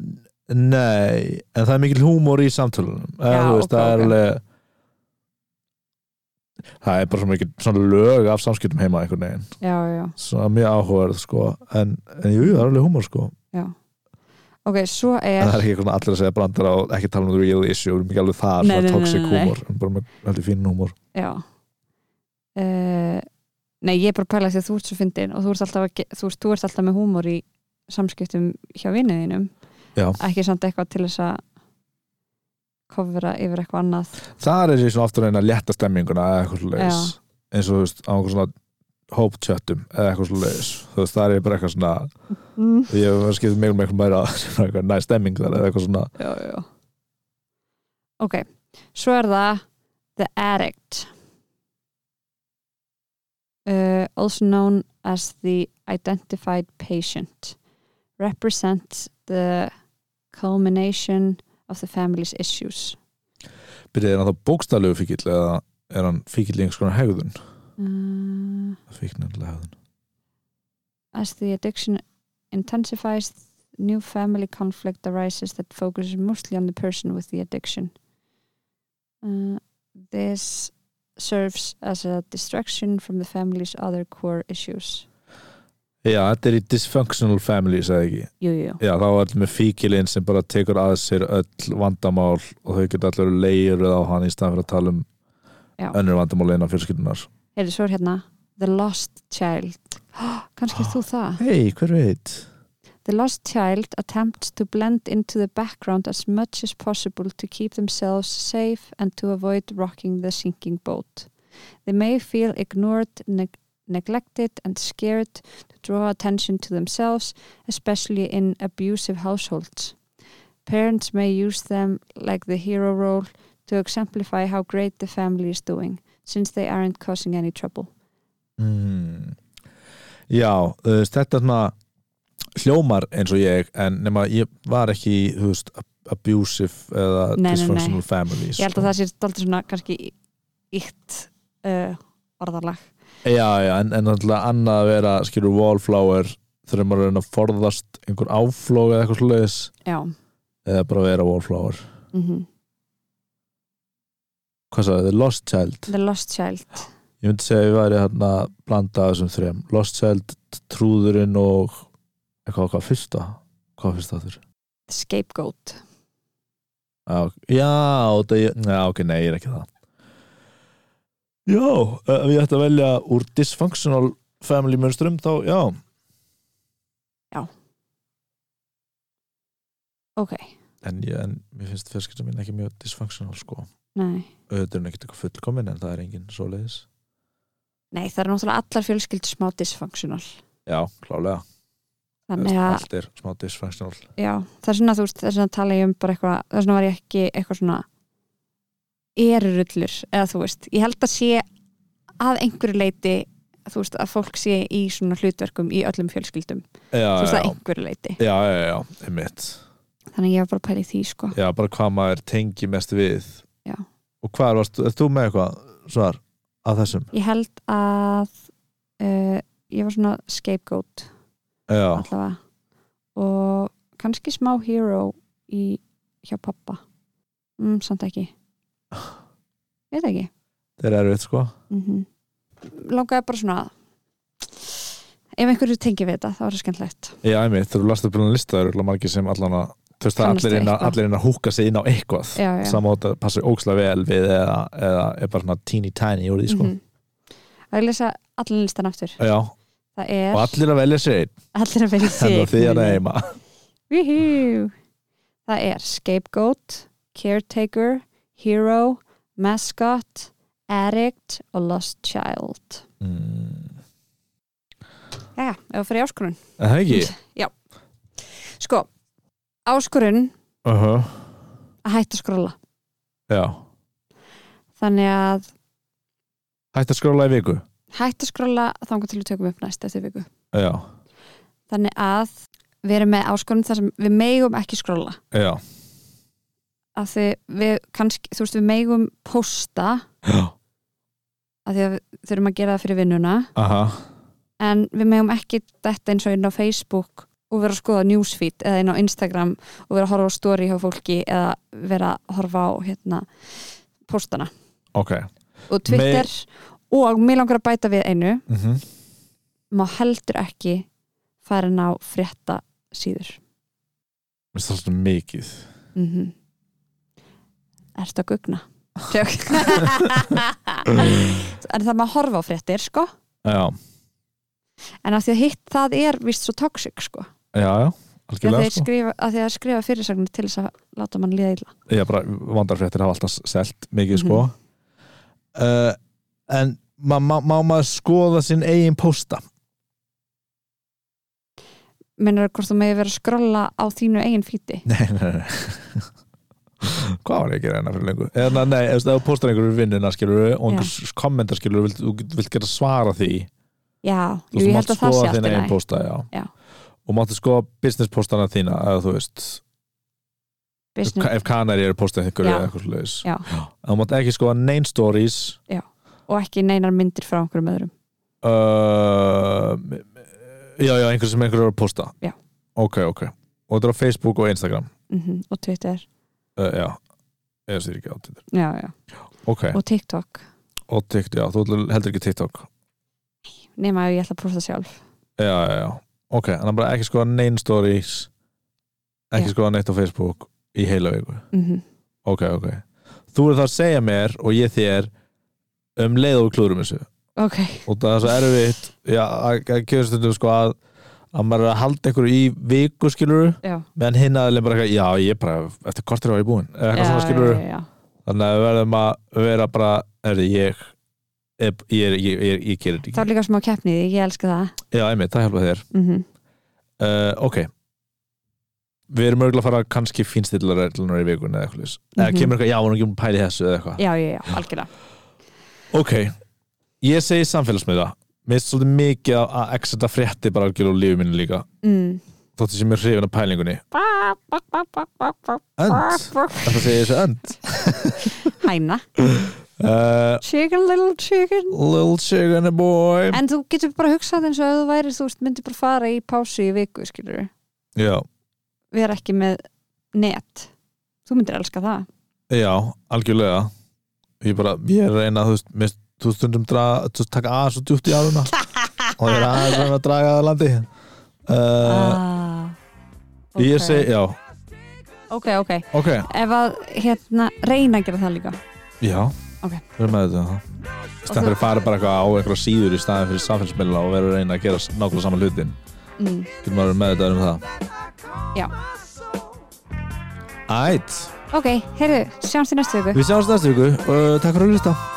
Nei, en það er mikil húmór í samtölunum Eða,
Já,
þú veist, það,
ok, ok.
er alveg, það er bara svo mikil svona lög af samskiptum heima einhvern veginn,
Já, já, já.
svona mjög áhugaverð sko. en, en jú, það er alveg húmór sko.
Ok, svo
en það
er...
er ekki eitthvað allir að segja brandara og ekki tala um real issue, við erum ekki alveg það
Nei, nei,
svona
nei,
toxic
nei, nei.
húmór, en bara með allir fín húmór
Já. Uh, nei, ég er bara að pæla því að þú ert svo fyndin og þú ert alltaf, að ge- þú veist, þú ert alltaf með húmor í samskiptum hjá vinniðinum.
Já.
Ekki samt eitthvað til þess að kofra yfir eitthvað annað.
það er ég svona ofta að reyna að létta stemminguna eða eitthvað svo
Já.
eins og þú veist, á einhver svona hóptjöttum eða eitthvað svo þú veist, það er bara eitthvað svona
Mm.
ég hef skipt mig um eitthvað meira sem var eitthvað næ stemming þar eða eitthvað svona
Já, já, já. Ok, svo er það The Addict uh, also known as the Identified Patient represents the culmination of the family's issues
byrjaði hann þá bókstaflegu fíkil eða er hann fíkil í einhvers konar hegðun
uh,
fíknilega hegðun
as the addiction intensifies new family conflict arises that focuses mostly on the person with the addiction uh, this serves as a distraction from the family's other core issues
já, þetta er í dysfunctional family, sagði ekki
jú, jú, jú.
já, þá er þetta með fíkilinn sem bara tekur að sér öll vandamál og þau geta allir leiðuð á hann í staðan fyrir að tala um
Já.
önnur vandamál innan fjölskyldunar
Heyrðu, svo er hérna The Lost Child oh, kannski ert þú það
hei, hver veit?
The lost child attempts to blend into the background as much as possible to keep themselves safe and to avoid rocking the sinking boat. They may feel ignored, neg- neglected, and scared to draw attention to themselves, especially in abusive households. Parents may use them like the hero role to exemplify how great the family is doing, since they aren't causing any trouble.
Mm. Já, þú veist, þetta svona hljómar eins og ég en nema ég var ekki í, þú veist, ab- abusive eða
Nei, nei, nei.
dysfunctional sko. families
Ég held að það sé stoltið svona kannski í- íkt uh, orðalag.
Já, já, en, en alltaf annað að vera skilur wallflower þegar maður er að reyna að forðast einhver áflóg eða eitthvað slúiðis
Já.
eða bara vera wallflower
Mm
Mhm. Hvað sagði þið? Lost Child?
The Lost Child.
Ég myndi segja að ég væri hérna blanda af þessum þrem Lost Child, Trúðurinn og eitthvað, hvað fyrsta? Hvað var fyrsta þurr?
The Scapegoat.
Já, já, og það, já, ok, nei, ég er ekki það Já, ef ég ætti að velja úr dysfunctional family mönstrum þá, já,
Ok,
en, ég, en mér finnst fjölskylda mín ekki mjög dysfunctional, sko
nei.
auðvitað er hún ekkert eitthvað fullkomin en það er engin svoleiðis
Nei, það eru náttúrulega allar fjölskyldur smá dysfunctional.
Já, klálega, Þú
Þannig
veist,
að,
allt er smá dysfunctional
já, það er svona, þú veist, það er svona að tala ég um bara eitthvað, það er svona var ég ekki eitthvað svona erurullur, eða þú veist, ég held að sé að einhverju leiti, þú veist, að fólk sé í svona hlutverkum í öllum fjölskyldum,
Já,
þú veist,
já,
að einhverju leiti.
já, já, já, einmitt
Þannig að ég var bara að pæla í því, sko.
Já, bara hvað maður tengi mest við
Já.
Og hvað varst, er þú með eitthvað svar að þessum?
Ég held að uh, ég var svona scapegoat
Já,
allavega og kannski smá hero í, hjá pappa mm, samt ekki Ég veit ekki
þeir eru eitt, sko
mm langaði bara svona að- ef einhverju tengi við þetta þá er það skemmtlegt
Já, einmitt, þegar þú lasta upp búin lista það eru örugglega margir sem allan að þú veist það
Kannast
allir
við
inn að,
eitthvað.
allir inn að húka sig inn á eitthvað
já, já.
samátt að passa ókslega vel við eða, eða er bara svona teeny tiny úr því sko.
Mhm. að ég lesa allan listan aftur
Já,
það er
og allir að velja sér einn
allir að velja sig
þannig að því að
Mhm.
neyma
Woohoo! Það er scapegoat, caretaker, hero, mascot, addict og lost child.
mm.
Jæja, ef það fyrir áskorun.
En það ekki
Sko, áskorun
uh -huh.
að hætta að skrolla.
Já,
Þannig að
hætt að skróla í viku
hætta að skrolla þangað til við tökum upp næst eftir viku.
Já,
Þannig að við erum með áskorun þar sem við megum ekki skrolla.
já,
Af því við kannski, þú veist, við megum posta
já,
af því að við þurfum að gera það fyrir vinnuna.
aha
en við meðum ekki þetta eins og inn á Facebook og vera að skoða newsfeed eða inn á Instagram og vera að horfa á story hjá fólki eða vera að horfa á hérna, postana
Ok,
og Twitter og mér langar að bæta við einu
mm
má heldur ekki fara inn á frétta síður
mér finnst það svona mikið
mm -hmm. Ertu að gugna? Tjók. en það má horfa á fréttir sko
Já,
en að því að hitt það er vist svo toxic sko
já, já,
að
algjörlega
þeir
sko.
skrifa, að þeir skrifa fyrirsagnir til þess að láta mann líða illa
Já, bara vandarfréttir hafa alltaf selt mikið
Mhm.
sko uh, En má ma ma ma maður skoða sinn eigin pósta?
minnur hvort þú meði vera að skrolla á þínu eigin fíti
Nei, nei, nei Hvað var ég að gera hérna fyrir lengur? Eða, nei, ef þú póstar einhverju vinnuna skilur og einhver kommentar skilur vilt, þú vilt geta svara því
já,
Þú
jú, ég
mátt
held að það sé
skoða
allt
þinn
í
eigin
lagi.
pósta, já.
Já.
Og máttu skoða business póstana þína eða þú veist,
Business.
ef kanari eru póstað einhverju
Já.
eða eitthvað slags
Já.
Þú mátt ekki skoða nein stories
og ekki neinar myndir frá einhverjum öðrum
uh, Já, já, einhver sem einhver er að posta
Já.
Ok, ok Og þetta er á Facebook og Instagram
mm og Twitter
uh, Já, eða sér ekki á Twitter
já, já.
Ok,
og TikTok
og TikTok, já, þú heldur ekki TikTok
nema ef ég ætla að posta sjálf
Já, já, já Ok, en það bara ekki skoða nein stories Ekki
Já.
skoða neitt á Facebook í heila viku
mm
Ok, ok Þú er það að segja mér og ég þér um leið og við klúðrum þessu
ok,
og það er svo erfitt já, að, að kjöfstundum sko að að maður er að halda einhverju í viku skilur
já,
meðan hinn aðeins bara eitthvað, já ég er bara eftir kortir var ég búinn eða eitthvað
já,
svona skilur
já, já,
þannig að við verðum að vera bara herri, ég ég, ég, ég, ég, ég gerir þetta ekki
það er líka smá keppnið, ég elska það
já, einmitt, það hjálpa þér
mm
uh, ok við erum örgulega að fara kannski fínstillari í vikunni eða eitthvað mm eða
Mhm.
kemur eitthvað, já, hún er ekki búin að pæla í þessu eða eitthvað
já, já, já, algjörlega
ok, ég segi samfélagsmiðla mér er svolítið mikið að- að exita frétti bara algjörlega úr lífi mínu líka
mm.
þótti sem ég er hrifin af pælingunni önd, þetta segir þessu önd
hæna,
uh,
chicken little chicken
little sugar and a boy
en þú getur bara hugsað eins og ef þú væri þú veist, myndir bara fara í pásu í viku skilur,
já,
við erum ekki með net, þú myndir elska það
já, algjörlega ég bara, ég er að reyna þú veist, mér finnst- þú stundum draga, þú veist, taka aðeins og djúpt í áruna og ég er aðeins að reyna að draga það að landi uh,
ah,
ég segi, já,
ok, ok,
ok
ef að hérna, reyna að gera það líka
já,
Ok.
við erum með þetta stæðan fyrir að fara bara eitthvað á eitthvað síður í staðan fyrir samfélsmiðla og vera að reyna að gera nákvæmlega saman hlutin
mm.
getur maður með þetta um það
Já.
Ætt,
ok, heyrðu, sjáumst í næstu viku
við sjáumst næstu viku og Eh, takk fyrir að hlusta